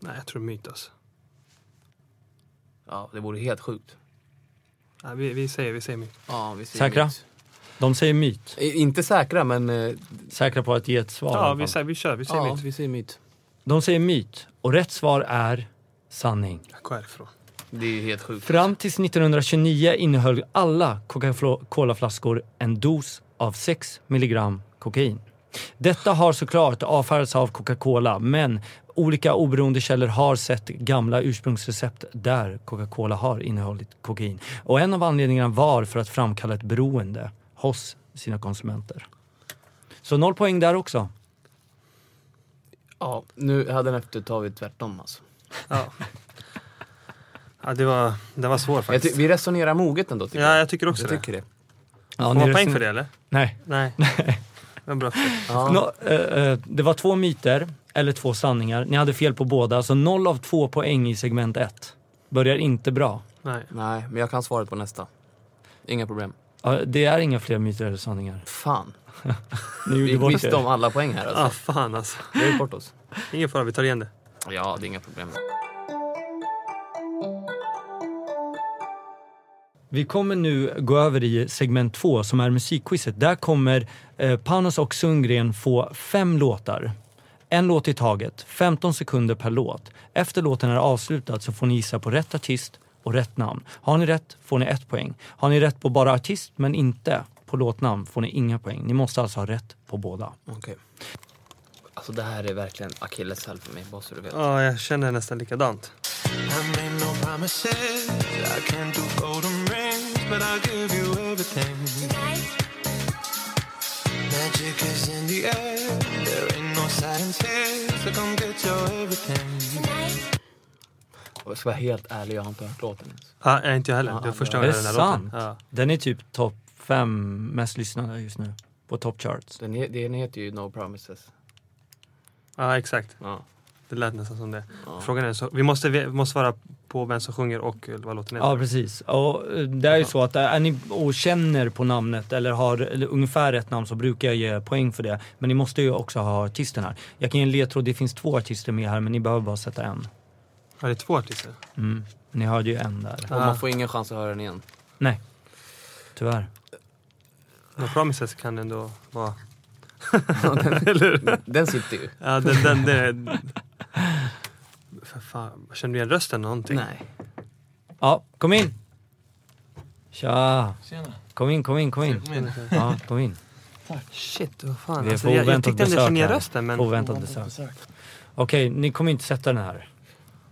[SPEAKER 2] Nej, jag tror myt alltså.
[SPEAKER 3] ja, det vore helt sjukt.
[SPEAKER 2] Nej, vi, vi säger, vi säger myt.
[SPEAKER 3] Ja, vi säger
[SPEAKER 1] Säkra?
[SPEAKER 3] myt.
[SPEAKER 1] De säger myt.
[SPEAKER 3] Eh, Inte säkra, men... eh,
[SPEAKER 1] Säkra på att ge ett svar. i
[SPEAKER 2] Ja,
[SPEAKER 1] alla
[SPEAKER 2] vi,
[SPEAKER 1] fall.
[SPEAKER 2] säger, vi kör, vi säger
[SPEAKER 3] Ja,
[SPEAKER 2] myt.
[SPEAKER 3] vi säger myt.
[SPEAKER 1] De säger myt och rätt svar är sanning.
[SPEAKER 2] Jag går härifrån.
[SPEAKER 3] Det är ju helt sjukt.
[SPEAKER 1] Fram tills 1929 innehöll alla Coca-Cola-flaskor en dos av 6 milligram kokain. Detta har såklart avfärdats av Coca-Cola men olika oberoende källor har sett gamla ursprungsrecept där Coca-Cola har innehållit kokain. Och en av anledningarna var för att framkalla ett beroende hos sina konsumenter. Så noll poäng där också.
[SPEAKER 3] Ja, nu hade den efter tagit tvärtom alltså.
[SPEAKER 2] Ja. ja, det var, det var svår
[SPEAKER 3] Jag ty-
[SPEAKER 2] faktiskt.
[SPEAKER 3] vi resonerar moget ändå tycker
[SPEAKER 2] Ja,
[SPEAKER 3] jag.
[SPEAKER 2] jag tycker också
[SPEAKER 3] Jag
[SPEAKER 2] det.
[SPEAKER 3] tycker det.
[SPEAKER 1] Ja,
[SPEAKER 2] Får man
[SPEAKER 1] ni
[SPEAKER 2] poäng
[SPEAKER 1] reson-
[SPEAKER 2] för det eller?
[SPEAKER 1] Nej.
[SPEAKER 2] Nej. Men bra.
[SPEAKER 3] Ja.
[SPEAKER 1] Nå, eh, eh, det var två myter, eller två sanningar. Ni hade fel på båda, så noll av två poäng i segment ett. Börjar inte bra.
[SPEAKER 2] Nej.
[SPEAKER 3] Nej, men jag kan svaret på nästa. Inga problem.
[SPEAKER 1] Ja, det är inga fler myter eller sanningar.
[SPEAKER 3] Fan,
[SPEAKER 1] Ni gjorde
[SPEAKER 3] vi
[SPEAKER 1] bort
[SPEAKER 3] visste
[SPEAKER 1] er.
[SPEAKER 3] om alla poäng här alltså.
[SPEAKER 2] Ah, fan alltså.
[SPEAKER 3] Vi har gjort bort oss.
[SPEAKER 2] Ingen fara, vi tar igen det.
[SPEAKER 3] Ja, det är inga problem.
[SPEAKER 1] Vi kommer nu gå över i segment två som är musikquizet. Där kommer eh, Panos och Sundgren få fem låtar. En låt i taget, 15 sekunder per låt. Efter låten är avslutad så får ni gissa på rätt artist och rätt namn. Har ni rätt får ni ett poäng. Har ni rätt på bara artist men inte på låtnamn får ni inga poäng. Ni måste alltså ha rätt på båda.
[SPEAKER 3] Okej. Alltså det här är verkligen akilleshäl för mig, bara så du vet.
[SPEAKER 2] Ja, jag känner nästan likadant.
[SPEAKER 5] I made no promises. I can't do golden rings, but I'll give you everything. Magic is in the air. There ain't no science here, so come get your everything.
[SPEAKER 3] Jag ska vara helt ärlig, jag har inte hört låten ens.
[SPEAKER 2] Ja, jag Ah, inte jag heller.
[SPEAKER 3] Ja,
[SPEAKER 2] Det var första
[SPEAKER 1] Är det
[SPEAKER 2] gången jag hörde den här låten.
[SPEAKER 1] sant?
[SPEAKER 2] Ja.
[SPEAKER 1] Den är typ topp fem mest lyssnade just nu på top charts.
[SPEAKER 3] Den, he- den heter ju No Promises.
[SPEAKER 2] ja, exakt.
[SPEAKER 3] Ja.
[SPEAKER 2] Det lät nästan som det.
[SPEAKER 3] Ah.
[SPEAKER 2] Frågan är så, vi måste, vi måste svara på vem som sjunger och vad låten heter.
[SPEAKER 1] Ja, precis. Och eh, det är ju så att eh, är ni och känner på namnet eller har eller ungefär rätt namn så brukar jag ge poäng för det. Men ni måste ju också ha artisten här. Jag kan ge en ledtråd, det finns två artister med här men ni behöver bara sätta en.
[SPEAKER 2] Ja, det är två artister.
[SPEAKER 1] Mm. Ni hörde ju en där.
[SPEAKER 3] Och man får ingen chans att höra den igen.
[SPEAKER 1] Nej, tyvärr.
[SPEAKER 2] No Promises kan ändå vara...
[SPEAKER 3] Den sitter ju.
[SPEAKER 2] Ja, den, den, den, för fan, känner du igen rösten någonting?
[SPEAKER 3] Nej.
[SPEAKER 1] Ja, kom in! Tja! Kom in, kom in, kom in. Ja, kom in.
[SPEAKER 2] Shit, vad fan.
[SPEAKER 1] Vi är
[SPEAKER 2] Alltså,
[SPEAKER 1] på
[SPEAKER 2] jag, jag
[SPEAKER 1] oväntat
[SPEAKER 2] tyckte ändå jag kände igen
[SPEAKER 1] besök här.
[SPEAKER 2] rösten men
[SPEAKER 1] Oväntat besök. Okej, ni kommer inte sätta den här.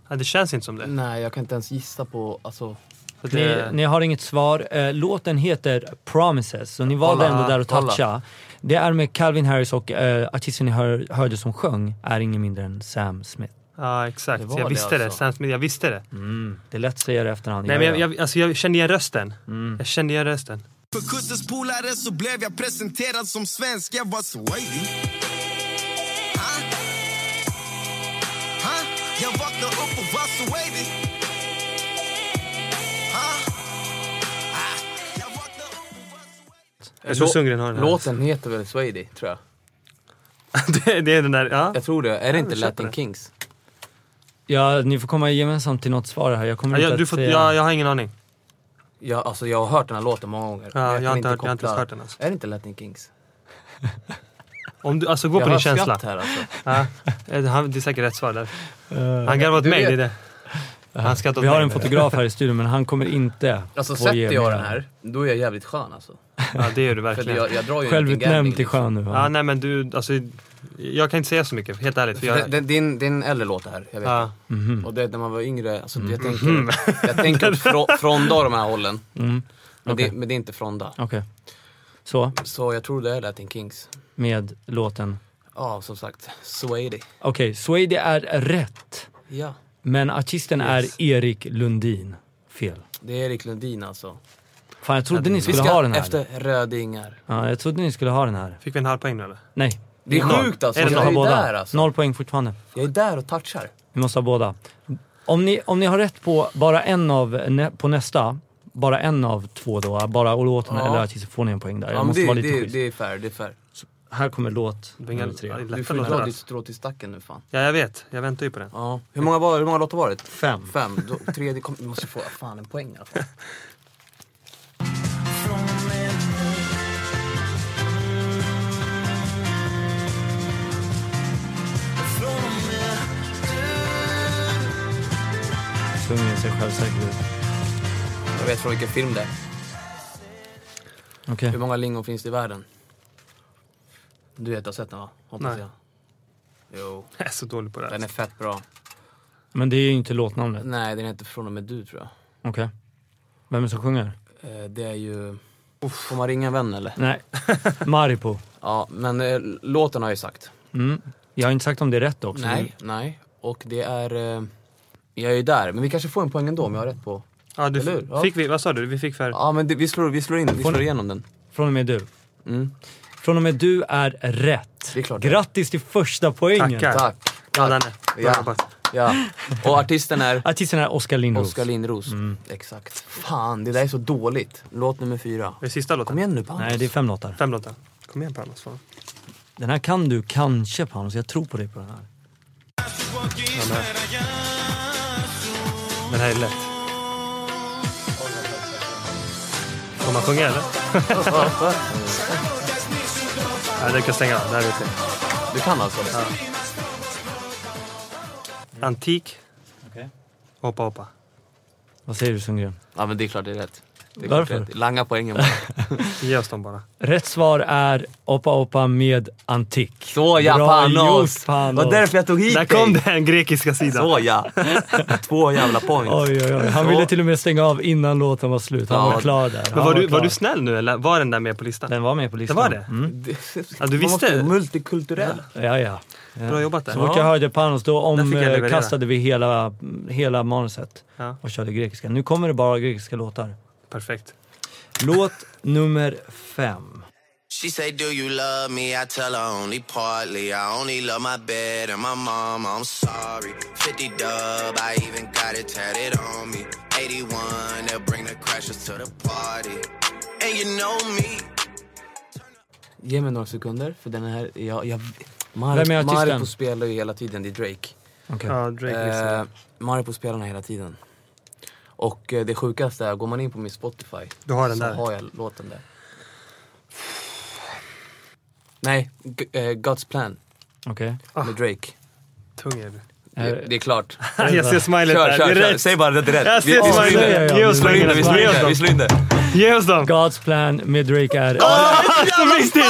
[SPEAKER 2] ja, det känns inte som det.
[SPEAKER 3] Nej, jag kan inte ens gissa på, alltså.
[SPEAKER 2] Så det
[SPEAKER 1] Ni, ni har inget svar. Eh, Låten heter Promises, så ni valde
[SPEAKER 3] Kolla,
[SPEAKER 1] ändå där att
[SPEAKER 3] kolla.
[SPEAKER 1] toucha. Det är med Calvin Harris och eh, artisten ni hör, hörde som sjöng är ingen mindre än Sam Smith.
[SPEAKER 2] Ja, exakt.
[SPEAKER 3] Det var
[SPEAKER 2] jag
[SPEAKER 3] det
[SPEAKER 2] visste det.
[SPEAKER 3] alltså.
[SPEAKER 2] Sam Smith, jag visste det.
[SPEAKER 1] Mm. Det är lätt att säga det efterhand.
[SPEAKER 2] Nej,
[SPEAKER 1] Ja,
[SPEAKER 2] men jag,
[SPEAKER 1] ja.
[SPEAKER 2] jag, alltså, jag kände igen rösten.
[SPEAKER 3] Mm.
[SPEAKER 2] Jag kände igen rösten.
[SPEAKER 5] För kustens polare så blev jag presenterad som svensk, jag var så wavy Ha? Ha? Jag vaknade upp och var så wavy Ha? Ah. Jag vaknade upp och var så wavy
[SPEAKER 2] Jag tror
[SPEAKER 3] Lå-
[SPEAKER 2] Sundgren har den här.
[SPEAKER 3] Låten heter väl Swady, tror jag.
[SPEAKER 2] det, det är den där, ja.
[SPEAKER 3] Jag tror det. Är det inte
[SPEAKER 2] vi köper
[SPEAKER 3] Latin
[SPEAKER 2] det.
[SPEAKER 3] Kings?
[SPEAKER 1] ja, ni får komma gemensamt till något svar här. Jag kommer
[SPEAKER 2] ja
[SPEAKER 1] inte
[SPEAKER 2] jag, du
[SPEAKER 1] att
[SPEAKER 2] får,
[SPEAKER 1] säga.
[SPEAKER 2] jag, jag har ingen aning.
[SPEAKER 3] Jag, alltså, jag har hört den här låten många gånger.
[SPEAKER 2] Ja, jag
[SPEAKER 3] men kan
[SPEAKER 2] har inte hört- jag har inte
[SPEAKER 3] koppla-
[SPEAKER 2] ens hört den, alltså.
[SPEAKER 3] Är det inte Latin Kings?
[SPEAKER 2] Om du, alltså gå
[SPEAKER 3] jag
[SPEAKER 2] på
[SPEAKER 3] hör
[SPEAKER 2] din känsla.
[SPEAKER 3] skratt här alltså.
[SPEAKER 2] Ja, eh, han, det är säkert rätt svar där. han garvar åt
[SPEAKER 3] du
[SPEAKER 2] mig, det är
[SPEAKER 3] vet.
[SPEAKER 2] det. Han skrattar åt
[SPEAKER 1] Eh, Vi har
[SPEAKER 2] mig.
[SPEAKER 1] en fotograf här i studion men han kommer inte
[SPEAKER 3] Alltså
[SPEAKER 1] få
[SPEAKER 3] sätter
[SPEAKER 1] ge
[SPEAKER 3] jag
[SPEAKER 1] mer.
[SPEAKER 3] den här, då är jag jävligt skön alltså.
[SPEAKER 2] Ja, det gör du
[SPEAKER 3] För att
[SPEAKER 2] verkligen.
[SPEAKER 3] jag, jag drar ju en liksom.
[SPEAKER 1] Självutnämnd
[SPEAKER 3] gambling,
[SPEAKER 1] till skön nu.
[SPEAKER 2] Ja,
[SPEAKER 1] va?
[SPEAKER 2] nej men du, alltså, jag kan inte säga så mycket, helt ärligt. För
[SPEAKER 3] Liksom.
[SPEAKER 2] jag,
[SPEAKER 3] Det, det, det, är en, det är en äldre låt det här, jag vet.
[SPEAKER 2] ja,
[SPEAKER 1] Mm.
[SPEAKER 3] det. Och det, när man var yngre, alltså, jag tänker, jag tänker frå, fronda och de här hållen.
[SPEAKER 1] Mm.
[SPEAKER 3] Men,
[SPEAKER 1] Okej.
[SPEAKER 3] det, men det är inte fronda.
[SPEAKER 1] Okej. Så,
[SPEAKER 3] Så jag tror det är Latin Kings.
[SPEAKER 1] med låten.
[SPEAKER 3] Ja, som sagt. Swady.
[SPEAKER 1] Okej, Swede är rätt.
[SPEAKER 3] Ja.
[SPEAKER 1] Men artisten är Erik Lundin. Fel.
[SPEAKER 3] Det är Erik Lundin alltså.
[SPEAKER 1] Fan, jag trodde ni
[SPEAKER 2] Vi
[SPEAKER 1] skulle
[SPEAKER 3] Vi
[SPEAKER 1] ha
[SPEAKER 3] ska
[SPEAKER 1] den här.
[SPEAKER 3] efter Rödingar.
[SPEAKER 1] Ja, jag trodde ni skulle ha den här.
[SPEAKER 2] Fick vi en halv poäng nu eller?
[SPEAKER 1] Nej.
[SPEAKER 3] Det är
[SPEAKER 1] Noll.
[SPEAKER 3] sjukt alltså.
[SPEAKER 2] Är det
[SPEAKER 1] Vi måste
[SPEAKER 3] Jag
[SPEAKER 1] ha
[SPEAKER 3] är
[SPEAKER 1] båda.
[SPEAKER 3] där alltså.
[SPEAKER 1] Noll poäng fortfarande.
[SPEAKER 3] Jag är där och touchar.
[SPEAKER 1] Vi måste ha båda. Om ni, om ni har rätt på bara en av, nä- på nästa, bara en av två då, bara låten
[SPEAKER 3] Ja.
[SPEAKER 1] eller artisten får ni en poäng där. Jag
[SPEAKER 3] Ja, men
[SPEAKER 1] måste
[SPEAKER 3] det,
[SPEAKER 1] vara lite
[SPEAKER 3] det,
[SPEAKER 1] schysst.
[SPEAKER 3] det är fair, det är fair.
[SPEAKER 1] Här kommer låt
[SPEAKER 2] Det var inga-
[SPEAKER 1] nummer tre.
[SPEAKER 2] ja, det är
[SPEAKER 3] Du
[SPEAKER 2] lättare
[SPEAKER 3] får ju
[SPEAKER 2] att
[SPEAKER 3] dra
[SPEAKER 2] lära
[SPEAKER 3] ditt
[SPEAKER 2] sig.
[SPEAKER 3] strå till stacken nu fan.
[SPEAKER 2] Ja, jag vet. Jag väntar ju på den.
[SPEAKER 3] Ja. Hur många, var, hur många låtar var det?
[SPEAKER 1] Fem.
[SPEAKER 3] Fem. Då, tredje kom, vi måste få fan en poäng alltså. i alla fall.
[SPEAKER 1] Sjunger sig självsäker ut.
[SPEAKER 3] Jag vet från vilken film det är.
[SPEAKER 1] Okej.
[SPEAKER 3] Hur många lingon finns det i världen? Du vet, jag har sett den va? Hoppas
[SPEAKER 2] Nej.
[SPEAKER 3] jag. Jo,
[SPEAKER 2] Jag är så dålig på det
[SPEAKER 3] den
[SPEAKER 2] här.
[SPEAKER 3] är fett bra.
[SPEAKER 1] Men det är ju inte låtnamnet.
[SPEAKER 3] Nej, den heter Från och med du tror jag.
[SPEAKER 1] Okej. Vem är det som sjunger?
[SPEAKER 3] Eh, Det är ju... Får man ringa en vän eller?
[SPEAKER 1] Nej. Maripo.
[SPEAKER 3] Ja, men eh, låten har jag ju sagt.
[SPEAKER 1] Mm. Jag har inte sagt om det är rätt också.
[SPEAKER 3] Nej, nej. Och det är... eh, Jag är ju där, men vi kanske får en poäng ändå om jag har rätt på...
[SPEAKER 2] Ja, du
[SPEAKER 3] Eller
[SPEAKER 2] f-
[SPEAKER 3] hur? Ja.
[SPEAKER 2] fick vi, vad sa du? Vi fick för...
[SPEAKER 3] Ja, men det, vi, slår, vi slår in, vi
[SPEAKER 1] Får ni-
[SPEAKER 3] slår igenom den.
[SPEAKER 1] Från och med du.
[SPEAKER 3] Mm.
[SPEAKER 1] Från och med du är rätt.
[SPEAKER 3] Det är klart det är.
[SPEAKER 1] Grattis till första poängen.
[SPEAKER 2] Tackar.
[SPEAKER 3] Tack.
[SPEAKER 2] Ja,
[SPEAKER 3] Tack.
[SPEAKER 2] den är.
[SPEAKER 3] Ja.
[SPEAKER 2] Den är bara-
[SPEAKER 3] Ja. Och artisten är
[SPEAKER 1] Artisten är Oskar Lindros.
[SPEAKER 3] Oskar Lindros. Exakt. Fan, det där är så dåligt. Låt nummer fyra.
[SPEAKER 2] Det är sista
[SPEAKER 3] Kom
[SPEAKER 2] låten.
[SPEAKER 3] igen nu Panos.
[SPEAKER 1] Nej, det är fem låtar.
[SPEAKER 2] Fem låtar. Kom igen Panos. fan.
[SPEAKER 1] Den här kan du kanske Panos, jag tror på dig på den här.
[SPEAKER 2] Den här är lätt. Får man sjunga eller? Nej, du kan stänga av. Det här vet jag.
[SPEAKER 3] Du kan alltså det?
[SPEAKER 2] Antik.
[SPEAKER 1] Okej.
[SPEAKER 2] Hoppa, hoppa.
[SPEAKER 1] Vad säger du Sundgren?
[SPEAKER 3] Ja men det är klart det är rätt. Det är klart
[SPEAKER 1] Varför?
[SPEAKER 3] det är rätt. Langa poängen bara.
[SPEAKER 2] Ge oss dem bara.
[SPEAKER 1] Rätt svar är Opa Opa med Antik.
[SPEAKER 3] Så ja
[SPEAKER 1] Bra
[SPEAKER 3] Panos!
[SPEAKER 1] gjort, Panos.
[SPEAKER 3] var därför jag tog hit
[SPEAKER 2] Där kom den grekiska sidan.
[SPEAKER 3] Så ja! Två jävla points.
[SPEAKER 1] Oj, oj, oj. Han ville till och med stänga av innan låten var slut. Han
[SPEAKER 3] Ja.
[SPEAKER 1] var klar där. Han
[SPEAKER 2] Men var du,
[SPEAKER 1] klar.
[SPEAKER 2] var du snäll nu eller? Var den där med på listan?
[SPEAKER 1] Den var med på listan.
[SPEAKER 2] Det var det?
[SPEAKER 1] Mm.
[SPEAKER 2] Ja, du visste?
[SPEAKER 3] Man måste- Multikulturell.
[SPEAKER 1] Ja, ja.
[SPEAKER 2] Bra jobbat där.
[SPEAKER 1] Så fort
[SPEAKER 3] Ja.
[SPEAKER 1] jag hörde Panos då
[SPEAKER 2] Där fick jag leverera.
[SPEAKER 1] omkastade vi hela, hela manuset
[SPEAKER 2] Ja,
[SPEAKER 1] och körde grekiska. Nu kommer det bara grekiska låtar.
[SPEAKER 2] perfekt.
[SPEAKER 1] Låt nummer fem.
[SPEAKER 5] She say, Do you love me? I tell her only partly. I only love my bed and my mom. I'm sorry. 50 dub, I even got it tatted on me. 81, they'll bring the crashers to the party. And you know me.
[SPEAKER 3] Ge mig några sekunder för den här, jag... jag
[SPEAKER 1] Vem är
[SPEAKER 3] Mar-
[SPEAKER 1] artisten?
[SPEAKER 3] Maripo spelar ju hela tiden, det är Drake.
[SPEAKER 1] Okej.
[SPEAKER 2] Ja, Drake
[SPEAKER 3] Eh,
[SPEAKER 2] gissade.
[SPEAKER 3] Maripo spelar den hela tiden. Och eh, det sjukaste är, går man in på min Spotify
[SPEAKER 2] Du har den
[SPEAKER 3] så
[SPEAKER 2] där.
[SPEAKER 3] har jag låten där. Nej, G- eh, God's Plan
[SPEAKER 1] Okej.
[SPEAKER 2] Ah.
[SPEAKER 3] med Drake.
[SPEAKER 2] Tung är du.
[SPEAKER 3] Det, det är klart.
[SPEAKER 2] Jag ser smilet
[SPEAKER 3] Kör,
[SPEAKER 2] där. Det
[SPEAKER 3] kör,
[SPEAKER 2] är
[SPEAKER 3] kör.
[SPEAKER 2] rätt.
[SPEAKER 3] Säg bara det är rätt.
[SPEAKER 2] Jag
[SPEAKER 3] Vi- vi
[SPEAKER 2] ser
[SPEAKER 3] slår in det.
[SPEAKER 1] Ja, ja, ja. Vi
[SPEAKER 2] smilet. Ge oss
[SPEAKER 3] Vi slår in
[SPEAKER 2] poängen.
[SPEAKER 3] det, vi slår
[SPEAKER 2] Ge
[SPEAKER 3] in
[SPEAKER 2] oss
[SPEAKER 3] det, vi
[SPEAKER 2] dem.
[SPEAKER 3] slår in det.
[SPEAKER 2] Ge oss dem.
[SPEAKER 1] God's plan med Drake är...
[SPEAKER 2] Ah, Så viktigt!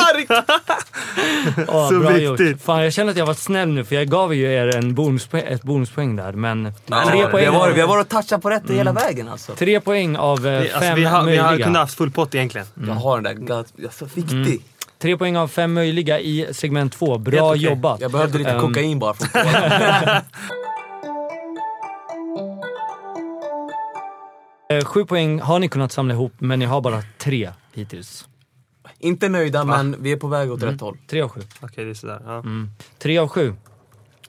[SPEAKER 1] Åh,
[SPEAKER 2] Så
[SPEAKER 1] bra
[SPEAKER 2] viktigt.
[SPEAKER 1] gjort. Fan, jag känner att jag varit snäll nu för jag gav ju er en bonuspoäng, ett bonuspoäng där. Men
[SPEAKER 3] Ja,
[SPEAKER 1] tre,
[SPEAKER 3] vi,
[SPEAKER 1] poäng
[SPEAKER 3] har
[SPEAKER 1] av,
[SPEAKER 3] varit, vi har varit och touchat på rätt hela vägen alltså.
[SPEAKER 1] tre poäng av eh,
[SPEAKER 2] Vi-
[SPEAKER 1] fem
[SPEAKER 2] Alltså, vi har, vi
[SPEAKER 1] möjliga.
[SPEAKER 2] har kunnat haft full pott egentligen.
[SPEAKER 3] Jag har den där, God, jag är så viktig.
[SPEAKER 1] Tre poäng av fem möjliga i segment två.
[SPEAKER 2] Helt
[SPEAKER 1] Bra
[SPEAKER 2] okej.
[SPEAKER 1] jobbat.
[SPEAKER 3] Jag behövde lite
[SPEAKER 1] Ehm,
[SPEAKER 3] kokain bara från Polen.
[SPEAKER 1] eh, Sju poäng har ni kunnat samla ihop men ni har bara tre hittills.
[SPEAKER 3] Inte nöjda men vi är på väg åt rätt håll.
[SPEAKER 1] Tre av sju.
[SPEAKER 2] Okej, det är sådär. Ja,
[SPEAKER 1] Tre av sju.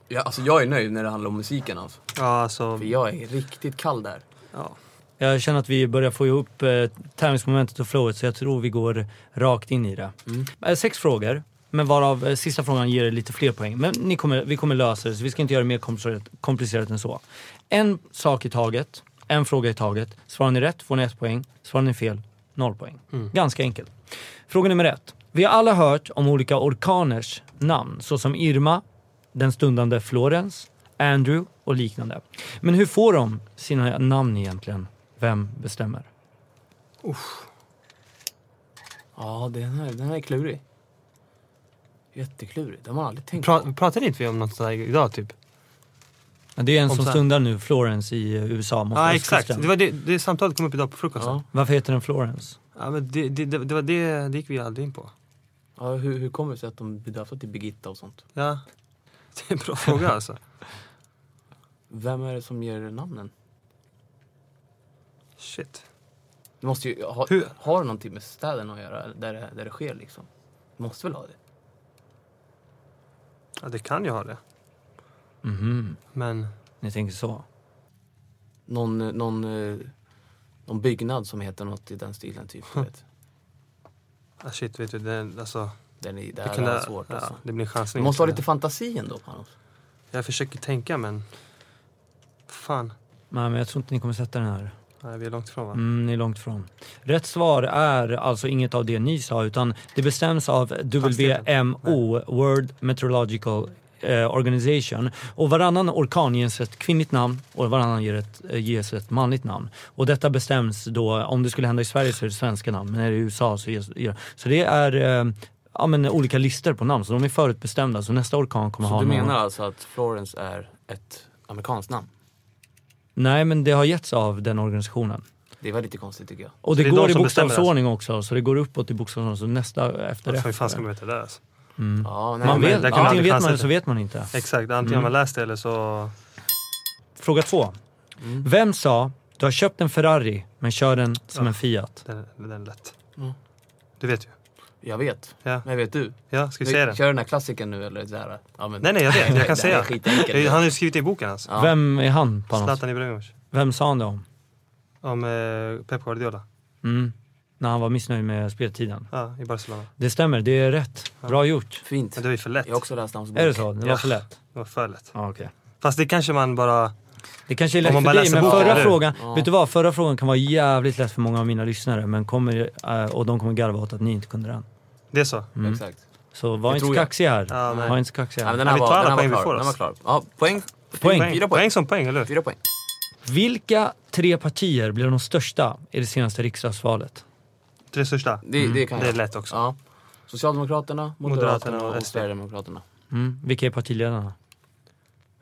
[SPEAKER 3] Ja, alltså jag är nöjd när det handlar om musiken alltså.
[SPEAKER 2] ja alltså...
[SPEAKER 3] För jag är riktigt kall där.
[SPEAKER 2] Ja.
[SPEAKER 1] Jag känner att vi börjar få ihop eh, tävlingsmomentet och flowet så jag tror vi går rakt in i det. Eh, sex frågor, men varav eh, sista frågan ger er lite fler poäng. Men ni kommer, vi kommer lösa det så vi ska inte göra det mer komplicerat, komplicerat än så. En sak i taget, en fråga i taget. Svarar ni rätt får ni ett poäng, svarar ni fel, noll poäng. Ganska enkelt. Fråga nummer ett. Vi har alla hört om olika orkaners namn såsom Irma, den stundande Florence, Andrew och liknande. Men hur får de sina namn egentligen? Vem bestämmer?
[SPEAKER 3] Ja, den här, den här är klurig. Jätteklurig, det har man aldrig tänkt på.
[SPEAKER 2] Pra, pratade inte vi om något sådär idag typ?
[SPEAKER 1] Ja, Det är en
[SPEAKER 2] Om
[SPEAKER 1] som
[SPEAKER 2] så här-
[SPEAKER 1] stundar nu, Florence i eh, USA mot
[SPEAKER 2] Ja, exakt.
[SPEAKER 1] västkusten.
[SPEAKER 2] Det var det, det samtalet kom upp idag på frukosten.
[SPEAKER 3] Ja.
[SPEAKER 2] Ja.
[SPEAKER 1] Varför heter den Florence?
[SPEAKER 2] men det, det, det, det var det, det gick vi aldrig in på.
[SPEAKER 3] Ja, hur, hur kommer det sig att de blir döpta till Birgitta och sånt?
[SPEAKER 2] Ja. Det är en bra fråga alltså.
[SPEAKER 3] Vem är det som ger namnen?
[SPEAKER 2] Shit.
[SPEAKER 3] Du måste ju, ha,
[SPEAKER 2] Hur-
[SPEAKER 3] har det någonting med städen att göra där det, där det sker liksom? Du måste väl ha det?
[SPEAKER 2] Ja, det kan ju ha det.
[SPEAKER 1] Mhm.
[SPEAKER 2] Men
[SPEAKER 1] Ni tänker så?
[SPEAKER 3] Någon, någon, eh, någon byggnad som heter något i den stilen typ. du Vet.
[SPEAKER 2] ah, shit, vet du, det, alltså,
[SPEAKER 3] Den är, det
[SPEAKER 2] det,
[SPEAKER 3] här
[SPEAKER 2] kunde-
[SPEAKER 3] är svårt alltså.
[SPEAKER 2] ja, det blir en
[SPEAKER 3] Du
[SPEAKER 2] chansning.
[SPEAKER 3] måste ha lite fantasi ändå Panos.
[SPEAKER 2] Jag försöker tänka, men... Fan.
[SPEAKER 1] Nej, men jag tror inte ni kommer sätta den här.
[SPEAKER 2] Nej, vi är långt ifrån, va?
[SPEAKER 1] Mm, ni är långt ifrån. Rätt svar är alltså inget av det ni sa utan det bestäms av WMO, World Meteorological eh, Organization. Och varannan orkan ges ett kvinnligt namn och varannan ger ett, eh, ges ett manligt namn. Och detta bestäms då, om det skulle hända i Sverige så är det svenska namn, men är det i USA så ges, ger- Så det är eh, ja, men, olika listor på namn, så de är förutbestämda. Så nästa orkan kommer
[SPEAKER 3] Så
[SPEAKER 1] ha
[SPEAKER 3] du
[SPEAKER 1] någon-
[SPEAKER 3] menar alltså att Florence är ett amerikanskt namn?
[SPEAKER 1] Nej, men det har getts av den organisationen.
[SPEAKER 3] Det var lite konstigt tycker jag.
[SPEAKER 1] Och
[SPEAKER 2] Så
[SPEAKER 1] det,
[SPEAKER 2] det är de
[SPEAKER 1] går i
[SPEAKER 2] som bestämmer
[SPEAKER 1] bokstavsordning också, så det går uppåt i bokstavsordning. Så nästa efter
[SPEAKER 2] Alltså,
[SPEAKER 1] efter.
[SPEAKER 2] hur fan ska man veta det? Alltså?
[SPEAKER 3] Ja, nej,
[SPEAKER 1] Man
[SPEAKER 2] men
[SPEAKER 1] vet,
[SPEAKER 2] där kan
[SPEAKER 1] antingen
[SPEAKER 2] man aldrig
[SPEAKER 1] vet man
[SPEAKER 2] chansa
[SPEAKER 1] eller så
[SPEAKER 2] det.
[SPEAKER 1] vet man inte.
[SPEAKER 2] Exakt, antingen
[SPEAKER 3] Mm.
[SPEAKER 2] har man läst det eller så...
[SPEAKER 1] Fråga två.
[SPEAKER 2] Mm.
[SPEAKER 1] Vem sa du har köpt en Ferrari men kör den som en Fiat?
[SPEAKER 2] Den, den är lätt.
[SPEAKER 3] Mm.
[SPEAKER 2] Du vet ju.
[SPEAKER 3] Jag vet.
[SPEAKER 2] Ja,
[SPEAKER 3] Men vet du?
[SPEAKER 2] ja ska vi säga den?
[SPEAKER 3] Kör den här klassiken nu eller så här. Ja, men,
[SPEAKER 2] Nej, nej, jag vet. Jag kan
[SPEAKER 3] det här
[SPEAKER 2] säga.
[SPEAKER 3] är skitenkelt.
[SPEAKER 2] Han har ju skrivit det i boken, alltså.
[SPEAKER 3] Ja.
[SPEAKER 1] Vem är han Panos?
[SPEAKER 2] Zlatan Ibrahimovic.
[SPEAKER 1] Vem sa han det om?
[SPEAKER 2] Om eh, Pep Guardiola.
[SPEAKER 1] Mm. När han var missnöjd med speltiden.
[SPEAKER 2] Ja, i Barcelona.
[SPEAKER 1] Det stämmer, det är rätt. Bra gjort.
[SPEAKER 3] Fint.
[SPEAKER 2] Men det var ju för lätt.
[SPEAKER 3] Jag har också läst hans bok.
[SPEAKER 1] Är det så? Det var för lätt?
[SPEAKER 2] Det var för lätt.
[SPEAKER 1] Ja, okej.
[SPEAKER 2] Fast det kanske man bara...
[SPEAKER 1] Det kanske är lätt
[SPEAKER 2] Om man
[SPEAKER 1] för
[SPEAKER 2] bara
[SPEAKER 1] dig,
[SPEAKER 2] läser
[SPEAKER 1] men
[SPEAKER 2] boken,
[SPEAKER 1] förra
[SPEAKER 2] eller hur?
[SPEAKER 1] frågan,
[SPEAKER 3] Ja.
[SPEAKER 1] vet du vad? Förra frågan kan vara jävligt lätt för många av mina lyssnare, men kommer, eh, och de kommer garva åt att ni inte kunde den.
[SPEAKER 2] Det är så.
[SPEAKER 1] Mm.
[SPEAKER 3] Exakt.
[SPEAKER 1] Så var
[SPEAKER 3] Det
[SPEAKER 1] inte
[SPEAKER 3] tror jag.
[SPEAKER 1] kaxig här.
[SPEAKER 2] Ja, nej.
[SPEAKER 1] var inte kaxig
[SPEAKER 3] Ja,
[SPEAKER 1] här.
[SPEAKER 3] men den
[SPEAKER 2] Ja, vi
[SPEAKER 3] här
[SPEAKER 2] tar
[SPEAKER 3] var,
[SPEAKER 2] alla
[SPEAKER 3] den här
[SPEAKER 2] poäng vi
[SPEAKER 3] var
[SPEAKER 2] får,
[SPEAKER 3] klar. Den var
[SPEAKER 2] alltså.
[SPEAKER 3] klar. Ja, poäng.
[SPEAKER 1] Poäng.
[SPEAKER 2] Poäng.
[SPEAKER 3] Fyra poäng.
[SPEAKER 2] poäng som poäng, eller hur?
[SPEAKER 3] Fyra poäng.
[SPEAKER 1] Vilka tre partier blev de största i det senaste riksdagsvalet?
[SPEAKER 2] Tre största.
[SPEAKER 3] Det, det
[SPEAKER 2] Mm,
[SPEAKER 3] kan
[SPEAKER 2] Det är
[SPEAKER 3] jag.
[SPEAKER 2] lätt också.
[SPEAKER 3] Ja. Socialdemokraterna,
[SPEAKER 2] Moderaterna
[SPEAKER 3] Moderaterna
[SPEAKER 2] och
[SPEAKER 3] och
[SPEAKER 2] SD.
[SPEAKER 3] Sverigedemokraterna.
[SPEAKER 1] Mm. Vilka är partiledarna?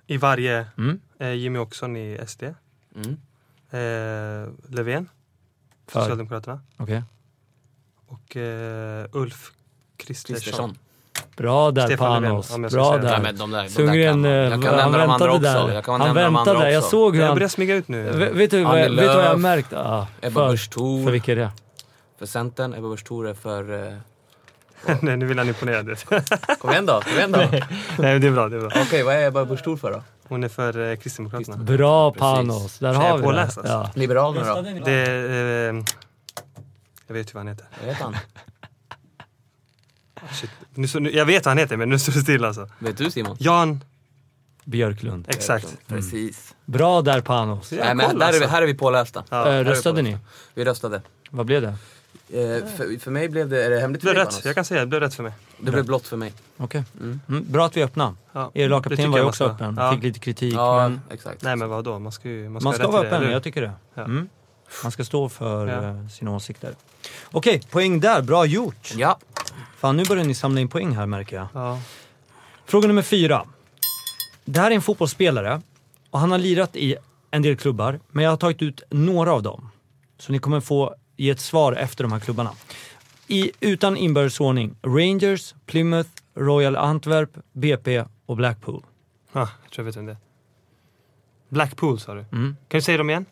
[SPEAKER 2] I varje...
[SPEAKER 1] Mm.
[SPEAKER 2] Eh, Jimmy Åkesson i SD. Eh,
[SPEAKER 3] Mm.
[SPEAKER 2] Löfven,
[SPEAKER 1] För?
[SPEAKER 2] Socialdemokraterna.
[SPEAKER 1] Okej.
[SPEAKER 2] Och eh, Ulf Kristersson.
[SPEAKER 3] Kristersson.
[SPEAKER 1] Bra där
[SPEAKER 2] Stefan Löfven,
[SPEAKER 1] Panos.
[SPEAKER 2] om jag ska
[SPEAKER 1] Bra
[SPEAKER 2] säga det.
[SPEAKER 3] Nej,
[SPEAKER 1] där.
[SPEAKER 3] men de där, de där kan
[SPEAKER 1] Sundgren,
[SPEAKER 3] man.
[SPEAKER 1] eh,
[SPEAKER 3] Jag kan
[SPEAKER 1] han
[SPEAKER 3] nämna de andra
[SPEAKER 1] väntade
[SPEAKER 3] också.
[SPEAKER 1] där.
[SPEAKER 3] Jag kan
[SPEAKER 1] Han
[SPEAKER 3] nämna de andra
[SPEAKER 1] väntade, jag
[SPEAKER 3] också.
[SPEAKER 1] såg hur
[SPEAKER 2] Jag
[SPEAKER 1] han...
[SPEAKER 2] börjar smyga ut nu.
[SPEAKER 1] Ve- Vet du vad
[SPEAKER 3] Annie
[SPEAKER 1] jag- vet du vad jag har
[SPEAKER 3] Lööf,
[SPEAKER 1] märkt? Ah,
[SPEAKER 3] Ebba
[SPEAKER 1] för,
[SPEAKER 3] Busch Thor.
[SPEAKER 1] för vilka är det?
[SPEAKER 3] För Centern, Ebba Busch Thor är för... eh,
[SPEAKER 2] Nej, nu vill han imponera. du vet.
[SPEAKER 3] Kom igen då, kom igen då. Okej,
[SPEAKER 2] Nej, men det är bra. Det är bra.
[SPEAKER 3] vad är Ebba Busch Thor för då?
[SPEAKER 2] Hon är för eh, Kristdemokraterna.
[SPEAKER 1] Bra
[SPEAKER 3] Precis.
[SPEAKER 1] Panos, där
[SPEAKER 2] Så jag
[SPEAKER 1] har vi det.
[SPEAKER 2] påläst, alltså.
[SPEAKER 1] Ja.
[SPEAKER 3] Liberalerna då? Vad
[SPEAKER 2] Det är... Eh, jag vet ju vad han heter.
[SPEAKER 3] heter han?
[SPEAKER 2] Shit. Nu, så- nu, jag vet vad han heter, men nu står det still alltså.
[SPEAKER 3] Vet du Simon?
[SPEAKER 2] Jan...
[SPEAKER 1] Björklund.
[SPEAKER 2] Exakt. Mm.
[SPEAKER 3] Precis.
[SPEAKER 1] Bra där Panos.
[SPEAKER 2] Ja,
[SPEAKER 3] Nej, men
[SPEAKER 2] kolla,
[SPEAKER 3] där är vi,
[SPEAKER 2] alltså.
[SPEAKER 3] här är vi pålästa.
[SPEAKER 2] Ja.
[SPEAKER 1] Eh, Röstade ni?
[SPEAKER 3] Vi röstade.
[SPEAKER 1] Vad blev det?
[SPEAKER 3] Eh, för, för mig blev det... Är det hemligt
[SPEAKER 2] Det
[SPEAKER 3] för
[SPEAKER 2] blev
[SPEAKER 3] dig,
[SPEAKER 2] rätt.
[SPEAKER 3] Panos?
[SPEAKER 2] Jag kan säga det blev rätt för mig.
[SPEAKER 3] Det blev blått för mig.
[SPEAKER 1] Okej. Mm, bra att vi öppnade.
[SPEAKER 2] Ja,
[SPEAKER 1] Er
[SPEAKER 2] det
[SPEAKER 1] lagkapten
[SPEAKER 2] tycker
[SPEAKER 1] var ju
[SPEAKER 2] jag
[SPEAKER 1] också
[SPEAKER 2] man ska-
[SPEAKER 1] öppen.
[SPEAKER 2] Ja.
[SPEAKER 1] Fick lite kritik.
[SPEAKER 3] Ja,
[SPEAKER 1] men
[SPEAKER 3] exakt.
[SPEAKER 2] Nej, men vadå? Man ska ju... Man ska,
[SPEAKER 1] man
[SPEAKER 2] ha
[SPEAKER 1] ska
[SPEAKER 2] rätt
[SPEAKER 1] vara
[SPEAKER 2] till det,
[SPEAKER 1] öppen,
[SPEAKER 2] eller hur?
[SPEAKER 1] jag tycker det.
[SPEAKER 2] Ja.
[SPEAKER 1] Mm. Man ska stå för
[SPEAKER 2] Ja.
[SPEAKER 1] eh, sina åsikter. Okej, poäng där. Bra gjort.
[SPEAKER 3] Ja.
[SPEAKER 1] Fan, nu börjar ni samla in poäng här märker jag.
[SPEAKER 2] Ja.
[SPEAKER 1] Fråga nummer fyra. Det här är en fotbollsspelare och han har lirat i en del klubbar, men jag har tagit ut några av dem. Så ni kommer få ge ett svar efter de här klubbarna. I, utan inbördesordning Rangers, Plymouth, Royal Antwerp, BP och Blackpool.
[SPEAKER 2] Ah, jag tror jag vet vem det är. Blackpool sa du.
[SPEAKER 1] Mm.
[SPEAKER 2] Kan du säga dem igen?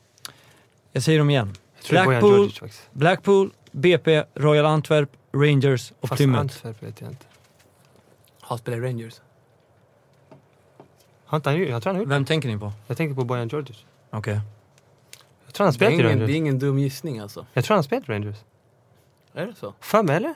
[SPEAKER 1] Jag säger dem igen.
[SPEAKER 2] Jag tror det är Bojan
[SPEAKER 1] Blackpool,
[SPEAKER 2] Djordjic faktiskt.
[SPEAKER 1] Blackpool, BP, Royal Antwerp, Rangers och
[SPEAKER 2] Fast
[SPEAKER 1] Plymouth.
[SPEAKER 2] Antwerp vet jag inte.
[SPEAKER 3] Han spelar i Rangers.
[SPEAKER 2] Har inte han, gjort- jag tror han har gjort
[SPEAKER 1] Vem tänker ni på?
[SPEAKER 2] Jag tänker på Bojan Djordjic.
[SPEAKER 1] Okej.
[SPEAKER 2] Jag tror han
[SPEAKER 3] Det är,
[SPEAKER 2] spelar i
[SPEAKER 3] ingen, det är
[SPEAKER 2] Rangers.
[SPEAKER 3] ingen dum gissning alltså.
[SPEAKER 2] Jag tror han spelar i Rangers.
[SPEAKER 3] Är det så?
[SPEAKER 2] För mig eller?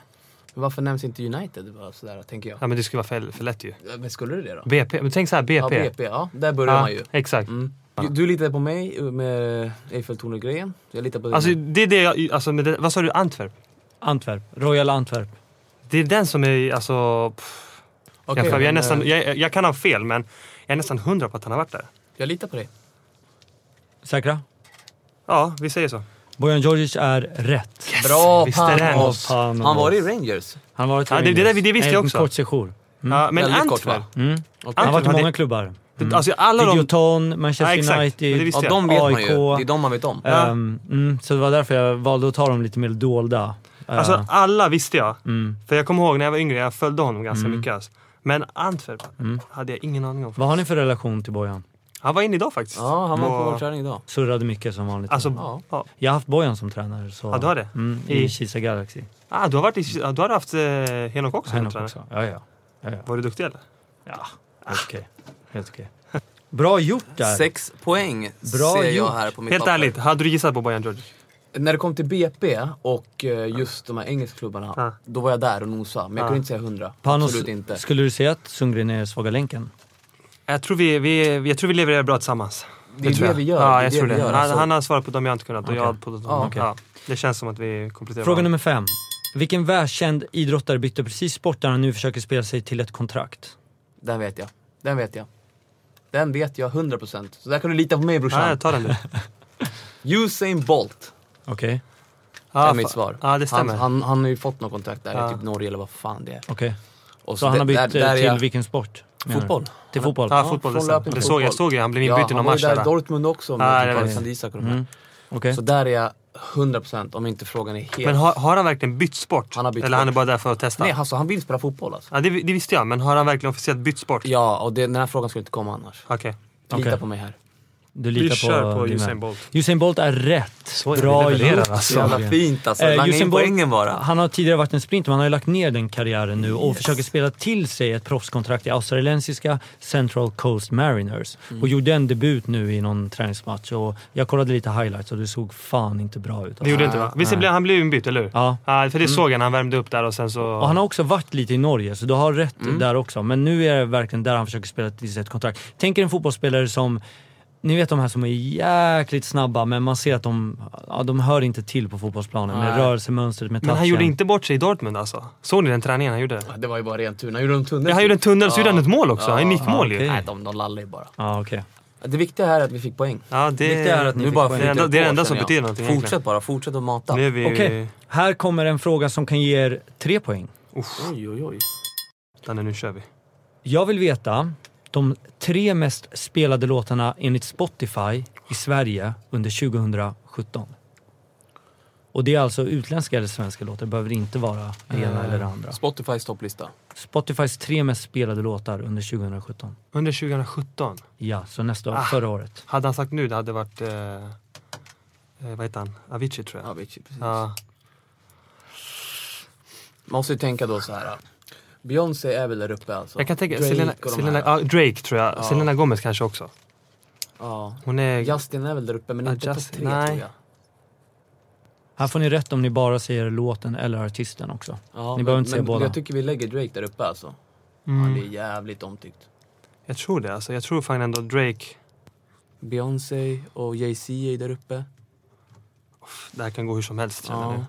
[SPEAKER 3] Men varför nämns inte United bara sådär, tänker jag?
[SPEAKER 2] Ja men det skulle vara för, för lätt ju.
[SPEAKER 3] Men skulle det det då?
[SPEAKER 2] BP. Men tänk så här, BP.
[SPEAKER 3] Ja, BP. Ja, där börjar man ju.
[SPEAKER 2] Exakt.
[SPEAKER 3] Mm. Du, du litar på mig eh, med Eiffeltornet-grejen. Jag litar på dig.
[SPEAKER 2] Alltså det är det jag... Alltså, med det, vad sa du? Antwerp?
[SPEAKER 1] Antwerp. Royal Antwerp.
[SPEAKER 2] Det är den som är alltså... Pff,
[SPEAKER 3] Okej,
[SPEAKER 2] jag, för, jag, är
[SPEAKER 3] men,
[SPEAKER 2] nästan,
[SPEAKER 3] eh,
[SPEAKER 2] jag, jag kan ha fel men jag är nästan hundra på att han har varit där.
[SPEAKER 3] jag litar på dig.
[SPEAKER 1] Säkra?
[SPEAKER 2] Ja, vi säger så.
[SPEAKER 3] Mm.
[SPEAKER 1] Bojan Djordjic är rätt.
[SPEAKER 3] Bra
[SPEAKER 2] visst är det han.
[SPEAKER 3] Panos!
[SPEAKER 1] Panos.
[SPEAKER 3] Han var i Rangers.
[SPEAKER 1] Han har varit i
[SPEAKER 2] Ja, det- det
[SPEAKER 1] Rangers.
[SPEAKER 2] där vi- det visste
[SPEAKER 1] Nej,
[SPEAKER 2] jag
[SPEAKER 1] en
[SPEAKER 2] också.
[SPEAKER 1] kort sejour.
[SPEAKER 2] Ja, men
[SPEAKER 3] Väldigt
[SPEAKER 2] Antwerp.
[SPEAKER 3] kort, va?
[SPEAKER 1] Mm. Han har
[SPEAKER 2] Antwerp
[SPEAKER 1] varit i många
[SPEAKER 2] hade-
[SPEAKER 1] klubbar.
[SPEAKER 3] Mm.
[SPEAKER 2] det- Alltså alla de...
[SPEAKER 1] Videoton,
[SPEAKER 2] Ja,
[SPEAKER 1] Manchester
[SPEAKER 2] exakt. Men det
[SPEAKER 1] United.
[SPEAKER 2] visste
[SPEAKER 3] Ja,
[SPEAKER 2] jag.
[SPEAKER 3] de vet man ju.
[SPEAKER 1] AIK.
[SPEAKER 3] Det är de man vet om.
[SPEAKER 2] Ja.
[SPEAKER 1] ehm, mm, så det var därför jag valde att ta dem lite mer dolda. Eh,
[SPEAKER 2] Alltså alla visste jag.
[SPEAKER 1] mm.
[SPEAKER 2] För jag kommer ihåg när jag var yngre, jag
[SPEAKER 3] Mm.
[SPEAKER 2] följde honom ganska mycket. Alltså. Men Antwerp hade jag ingen aning om.
[SPEAKER 1] Vad har ni för relation till Bojan?
[SPEAKER 2] Han var inne idag faktiskt.
[SPEAKER 3] Ja, han var på
[SPEAKER 2] Och-
[SPEAKER 3] vår träning idag.
[SPEAKER 1] Surrade mycket som vanligt.
[SPEAKER 2] Alltså,
[SPEAKER 3] Ja.
[SPEAKER 2] ja.
[SPEAKER 1] jag har haft Bojan som tränare. Så,
[SPEAKER 2] Ja, du har det?
[SPEAKER 1] Mm, I
[SPEAKER 2] I-
[SPEAKER 1] Kisa Galaxy.
[SPEAKER 2] Ah, du har varit i, ja, du har haft eh, Henok också?
[SPEAKER 1] Henok
[SPEAKER 2] tränare.
[SPEAKER 1] också. Ja, ja. ja, ja.
[SPEAKER 2] Var du duktig eller?
[SPEAKER 1] ja. Helt okej. Helt okej. Bra gjort där.
[SPEAKER 3] Ah. Sex poäng
[SPEAKER 1] Bra
[SPEAKER 3] ser
[SPEAKER 1] gjort.
[SPEAKER 3] jag här på mitt
[SPEAKER 2] Helt
[SPEAKER 3] papper.
[SPEAKER 2] ärligt, hade du gissat på Bojan George?
[SPEAKER 3] När det kom till BP och eh, just de här engelskklubbarna,
[SPEAKER 2] Ja.
[SPEAKER 3] då var jag där och nosade. Men jag
[SPEAKER 2] Ja.
[SPEAKER 3] kunde inte säga hundra.
[SPEAKER 1] Panos,
[SPEAKER 3] Absolut inte.
[SPEAKER 1] skulle du säga att Sundgren är svaga länken?
[SPEAKER 2] Jag tror vi, vi, jag tror vi levererar bra tillsammans.
[SPEAKER 3] Det är
[SPEAKER 2] tror
[SPEAKER 3] det
[SPEAKER 2] jag.
[SPEAKER 3] vi gör.
[SPEAKER 2] Ja,
[SPEAKER 3] är
[SPEAKER 2] jag
[SPEAKER 3] det
[SPEAKER 2] tror
[SPEAKER 3] vi
[SPEAKER 2] det.
[SPEAKER 3] gör,
[SPEAKER 2] han,
[SPEAKER 3] alltså.
[SPEAKER 2] han har svarat på dem jag inte kunnat och jag har på dem.
[SPEAKER 3] Ja,
[SPEAKER 2] Ja,
[SPEAKER 3] okej.
[SPEAKER 2] Det känns som att vi kompletterar
[SPEAKER 1] Fråga
[SPEAKER 2] varandra.
[SPEAKER 1] nummer fem. Vilken världskänd idrottare bytte precis sport där han nu försöker spela sig till ett kontrakt?
[SPEAKER 3] Den vet jag. Den vet jag. Den vet jag 100%. Så där kan du lita på mig brorsan.
[SPEAKER 2] Ja, jag tar den nu.
[SPEAKER 3] Usain Bolt
[SPEAKER 1] Okej,
[SPEAKER 2] Ja,
[SPEAKER 3] är mitt
[SPEAKER 2] fa-
[SPEAKER 3] svar.
[SPEAKER 2] Ja, det stämmer.
[SPEAKER 3] Han, han, han har ju fått någon kontrakt där
[SPEAKER 2] Ja.
[SPEAKER 3] i typ Norge eller vad fan det är.
[SPEAKER 1] okej.
[SPEAKER 3] Och
[SPEAKER 1] Så han
[SPEAKER 3] Alltså, det-
[SPEAKER 1] har bytt
[SPEAKER 3] där- där
[SPEAKER 1] eh,
[SPEAKER 3] är
[SPEAKER 1] till
[SPEAKER 3] jag-
[SPEAKER 1] vilken sport? menar du?
[SPEAKER 3] Fotboll.
[SPEAKER 1] Till fotboll?
[SPEAKER 2] ja, fotboll.
[SPEAKER 3] från
[SPEAKER 2] Det, stämmer.
[SPEAKER 3] löpning
[SPEAKER 2] det
[SPEAKER 3] till
[SPEAKER 2] såg jag,
[SPEAKER 3] fotboll.
[SPEAKER 2] såg jag. Han blev inbytt i någon
[SPEAKER 3] han var
[SPEAKER 2] match
[SPEAKER 3] ju där i
[SPEAKER 2] där.
[SPEAKER 3] Dortmund också
[SPEAKER 2] Ja,
[SPEAKER 3] med
[SPEAKER 2] det
[SPEAKER 3] typ
[SPEAKER 2] vet jag.
[SPEAKER 3] Alexander Isak och de här.
[SPEAKER 1] Mm. Okej.
[SPEAKER 3] Så där är jag 100% om inte frågan är helt...
[SPEAKER 2] Men har, har han verkligen bytt sport?
[SPEAKER 3] Han har bytt
[SPEAKER 2] eller han är
[SPEAKER 3] sport.
[SPEAKER 2] bara där för att testa?
[SPEAKER 3] Nej, alltså han vill spela fotboll alltså.
[SPEAKER 2] ja, det, det visste jag, men har han verkligen officiellt bytt sport?
[SPEAKER 3] Ja, och det, den här frågan skulle inte komma annars.
[SPEAKER 2] Okej.
[SPEAKER 3] Lita
[SPEAKER 1] Okej.
[SPEAKER 3] på mig här.
[SPEAKER 1] Du
[SPEAKER 2] Vi
[SPEAKER 1] litar
[SPEAKER 2] kör på
[SPEAKER 1] din vän.
[SPEAKER 2] Usain Bolt.
[SPEAKER 1] Usain Bolt är rätt.
[SPEAKER 2] jag
[SPEAKER 1] Bra
[SPEAKER 2] levererar,
[SPEAKER 1] gjort.
[SPEAKER 2] alltså.
[SPEAKER 3] Så jävla
[SPEAKER 1] Sundgren.
[SPEAKER 3] fint alltså.
[SPEAKER 1] Eh,
[SPEAKER 3] Langa in
[SPEAKER 1] Usain Bolt-
[SPEAKER 3] poängen bara.
[SPEAKER 1] Han har tidigare varit en sprinter, men han har ju lagt ner den karriären nu och försöker spela till sig ett proffskontrakt i australiensiska Central Coast Mariners.
[SPEAKER 2] Mm.
[SPEAKER 1] Och gjorde en debut nu i någon träningsmatch och jag kollade lite highlights och det såg fan inte bra ut.
[SPEAKER 2] Det gjorde inte va? Visst,
[SPEAKER 1] Nej.
[SPEAKER 2] blev- han blev inbytt, eller hur?
[SPEAKER 1] Ja.
[SPEAKER 2] Ja, för det
[SPEAKER 3] Mm.
[SPEAKER 2] såg jag när han värmde upp där och sen så...
[SPEAKER 1] Och han har också varit lite i Norge, så du har rätt
[SPEAKER 2] Mm.
[SPEAKER 1] där också. Men nu är det verkligen där han försöker spela till sig ett kontrakt. Tänk er en fotbollsspelare som, ni vet de här som är jäkligt snabba men man ser att de, ja, de hör inte till på fotbollsplanen med
[SPEAKER 3] Nej.
[SPEAKER 1] rörelsemönstret, med touchen.
[SPEAKER 2] Men han gjorde inte bort sig i Dortmund alltså. Såg ni den träningen han gjorde?
[SPEAKER 3] Det var ju bara ren tur. Han gjorde en tunnel. typ.
[SPEAKER 2] Ja, han gjorde en Mm. tunnel, så gjorde han ett mål också. Han är nickmål
[SPEAKER 1] Ja,
[SPEAKER 2] ju.
[SPEAKER 1] okej.
[SPEAKER 3] Nej, de, de lallade ju bara.
[SPEAKER 1] Ja, okej.
[SPEAKER 3] Det viktiga här är att vi fick poäng.
[SPEAKER 2] Ja, det...
[SPEAKER 1] Viktigt är att ni
[SPEAKER 3] Nu
[SPEAKER 1] fick
[SPEAKER 3] bara
[SPEAKER 1] poäng.
[SPEAKER 2] Det är det enda-
[SPEAKER 3] flyter
[SPEAKER 2] det är det
[SPEAKER 3] på,
[SPEAKER 2] enda som
[SPEAKER 3] känner jag.
[SPEAKER 2] betyder någonting
[SPEAKER 3] Fortsätt
[SPEAKER 2] egentligen.
[SPEAKER 3] bara, fortsätt att mata.
[SPEAKER 2] Nu är vi...
[SPEAKER 1] Okej, här kommer en fråga som kan ge er tre poäng.
[SPEAKER 3] Oj, oj, oj.
[SPEAKER 2] Danne, nu kör vi.
[SPEAKER 1] Jag vill veta de tre mest spelade låtarna enligt Spotify i Sverige under 2017. Och det är alltså utländska eller svenska låtar, det behöver inte vara det
[SPEAKER 2] Eh,
[SPEAKER 1] ena eller det andra.
[SPEAKER 3] Spotifys topplista.
[SPEAKER 1] Spotifys tre mest spelade låtar under 2017.
[SPEAKER 2] Under 2017,
[SPEAKER 1] Ja, så nästa år,
[SPEAKER 2] Ah.
[SPEAKER 1] förra året.
[SPEAKER 2] hade han sagt nu det hade varit... Eh, eh, vad heter han? Avicii tror jag.
[SPEAKER 3] Ja, Avicii, precis.
[SPEAKER 2] Ja.
[SPEAKER 3] Man måste ju tänka då så här. Beyoncé är väl där uppe alltså.
[SPEAKER 2] Jag kan tänka...
[SPEAKER 3] Drake
[SPEAKER 2] Selena,
[SPEAKER 3] och de
[SPEAKER 2] Selena,
[SPEAKER 3] här.
[SPEAKER 2] ja, Drake tror jag. Selena Gomez kanske också.
[SPEAKER 3] Ja.
[SPEAKER 2] Hon är...
[SPEAKER 3] Justin är väl där uppe men
[SPEAKER 2] Ja,
[SPEAKER 3] inte
[SPEAKER 2] Justin,
[SPEAKER 3] på tre
[SPEAKER 2] nej.
[SPEAKER 3] tror jag.
[SPEAKER 1] Här får ni rätt om ni bara säger låten eller artisten också.
[SPEAKER 3] Ja,
[SPEAKER 1] ni behöver
[SPEAKER 3] men-
[SPEAKER 1] inte säga
[SPEAKER 3] men
[SPEAKER 1] båda.
[SPEAKER 3] Jag tycker vi lägger Drake där uppe alltså. Han är jävligt omtyckt.
[SPEAKER 2] Mm. Jag tror det alltså. Jag tror fan ändå Drake...
[SPEAKER 3] Beyoncé och Jay-Z är där uppe.
[SPEAKER 2] Det här kan gå hur som helst känner
[SPEAKER 3] Ja.
[SPEAKER 2] nu.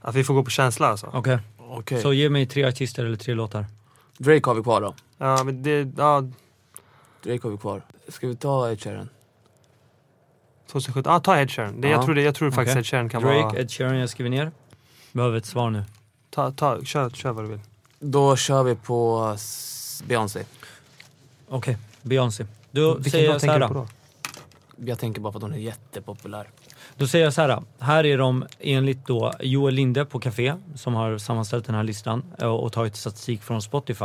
[SPEAKER 2] Att vi får gå på känsla alltså.
[SPEAKER 1] Okej,
[SPEAKER 3] Okej.
[SPEAKER 1] så ge mig tre artister eller tre låtar.
[SPEAKER 3] Drake har vi kvar då.
[SPEAKER 2] Ja, men det... Ja,
[SPEAKER 3] Drake har vi kvar. Ska vi ta Ed Sheeran?
[SPEAKER 2] 2017. Ja, ta Ed Sheeran. Det,
[SPEAKER 3] Ja.
[SPEAKER 2] Jag tror, det, jag tror faktiskt
[SPEAKER 1] Okej.
[SPEAKER 2] Ed Sheeran kan
[SPEAKER 1] Drake,
[SPEAKER 2] vara...
[SPEAKER 1] Ed Sheeran, jag skriver ner. Behöver ett svar nu.
[SPEAKER 2] Ta, ta, kör, kör vad du vill.
[SPEAKER 3] Då kör vi på s- Beyoncé.
[SPEAKER 1] Okej, Beyoncé. Då säger
[SPEAKER 2] Vilken
[SPEAKER 1] jag
[SPEAKER 2] låt
[SPEAKER 1] så här.
[SPEAKER 2] tänker du
[SPEAKER 1] då.
[SPEAKER 2] på då?
[SPEAKER 3] Jag tänker bara på att hon är jättepopulär.
[SPEAKER 1] Då säger jag så här. Här är de enligt då Joel Linde på Café som har sammanställt den här listan eh, och tagit statistik från Spotify.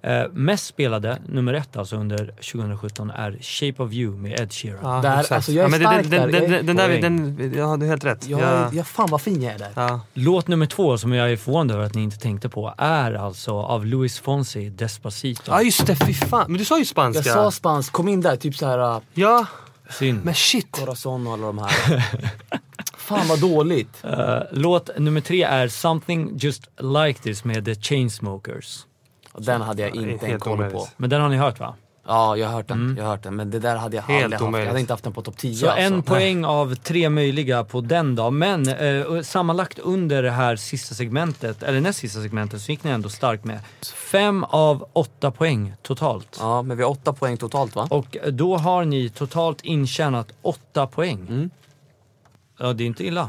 [SPEAKER 1] Eh, mest spelade, nummer ett alltså under 2017, är Shape of You med Ed Sheeran.
[SPEAKER 2] Ja,
[SPEAKER 3] Där-
[SPEAKER 2] exakt.
[SPEAKER 3] alltså, jag är
[SPEAKER 2] men
[SPEAKER 3] stark
[SPEAKER 2] den,
[SPEAKER 3] där.
[SPEAKER 2] Den,
[SPEAKER 3] Jag är-
[SPEAKER 2] den, den där, vi-
[SPEAKER 1] Poäng.
[SPEAKER 2] den, ja, du har helt rätt.
[SPEAKER 3] Jag,
[SPEAKER 2] Ja.
[SPEAKER 3] jag, fan vad fin jag är där.
[SPEAKER 2] Ja.
[SPEAKER 1] Låt nummer två som jag är förvånad över att ni inte tänkte på är alltså av Luis Fonsi, Despacito.
[SPEAKER 2] ja, just det. Fy fan. Men du sa ju spanska.
[SPEAKER 3] Jag sa spansk, kom in där, typ såhär uh,
[SPEAKER 2] Ja,
[SPEAKER 1] Synd.
[SPEAKER 2] men shit.
[SPEAKER 3] Corazon och alla de här. fan vad dåligt.
[SPEAKER 1] Eh, låt nummer tre är Something Just Like This med The Chainsmokers.
[SPEAKER 3] Och Den hade jag
[SPEAKER 2] Det är
[SPEAKER 3] inte en
[SPEAKER 2] helt
[SPEAKER 3] koll på.
[SPEAKER 2] omöjligt.
[SPEAKER 1] Men den har ni hört va?
[SPEAKER 3] Ja, jag har hört den. Jag har hört den. Men det där hade jag
[SPEAKER 2] Helt
[SPEAKER 3] aldrig haft. Jag
[SPEAKER 2] omöjligt.
[SPEAKER 3] hade inte haft den på topp 10
[SPEAKER 1] Så en
[SPEAKER 3] alltså.
[SPEAKER 1] poäng av tre möjliga på den då. Men eh, sammanlagt under det här sista segmentet, eller näst sista segmentet, så gick ni ändå starkt med. Fem av åtta poäng totalt.
[SPEAKER 3] Ja, men vi har åtta poäng totalt va?
[SPEAKER 1] Och då har ni totalt intjänat åtta poäng. Ja, det är inte illa.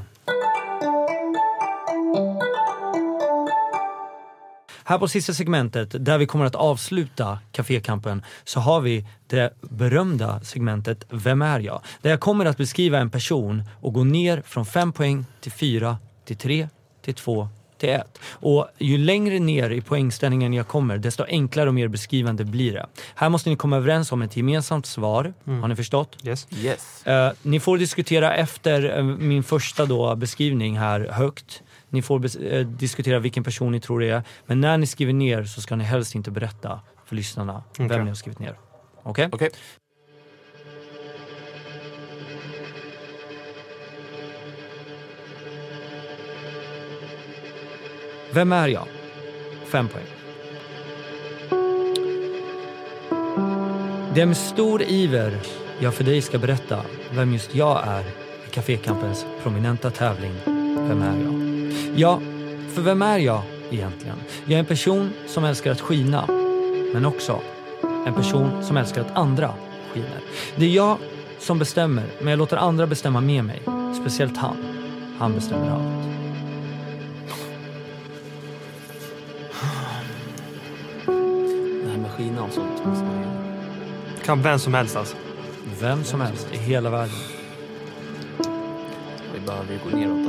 [SPEAKER 1] Här på sista segmentet, där vi kommer att avsluta kafékampen, så har vi det berömda segmentet Vem är jag? Där jag kommer att beskriva en person och gå ner från 5 poäng till 4, till 3, till 2 till ett. Och ju längre ner i poängställningen jag kommer, desto enklare och mer beskrivande blir det. Här måste ni komma överens om ett gemensamt svar. Har ni förstått?
[SPEAKER 2] Yes.
[SPEAKER 3] Yes.
[SPEAKER 1] Eh, ni får diskutera efter eh, min första då beskrivning här högt. Ni får bes- eh, diskutera vilken person ni tror det är. Men när ni skriver ner så ska ni helst inte berätta för lyssnarna
[SPEAKER 2] Okej.
[SPEAKER 1] vem ni har skrivit ner. Okej?
[SPEAKER 3] Okej.
[SPEAKER 1] Vem är jag? Fem poäng. Det är med stor iver jag för dig ska berätta vem just jag är i Cafékampens prominenta tävling Vem är jag? Ja, för vem är jag egentligen? Jag är en person som älskar att skina, men också en person som älskar att andra skiner. Det är jag som bestämmer, men jag låter andra bestämma med mig. Speciellt han. Han bestämmer allt.
[SPEAKER 3] Det här med skina och sånt.
[SPEAKER 2] Kan vem som helst alltså.
[SPEAKER 1] Vem som helst i hela världen.
[SPEAKER 3] Vi behöver ju gå neråt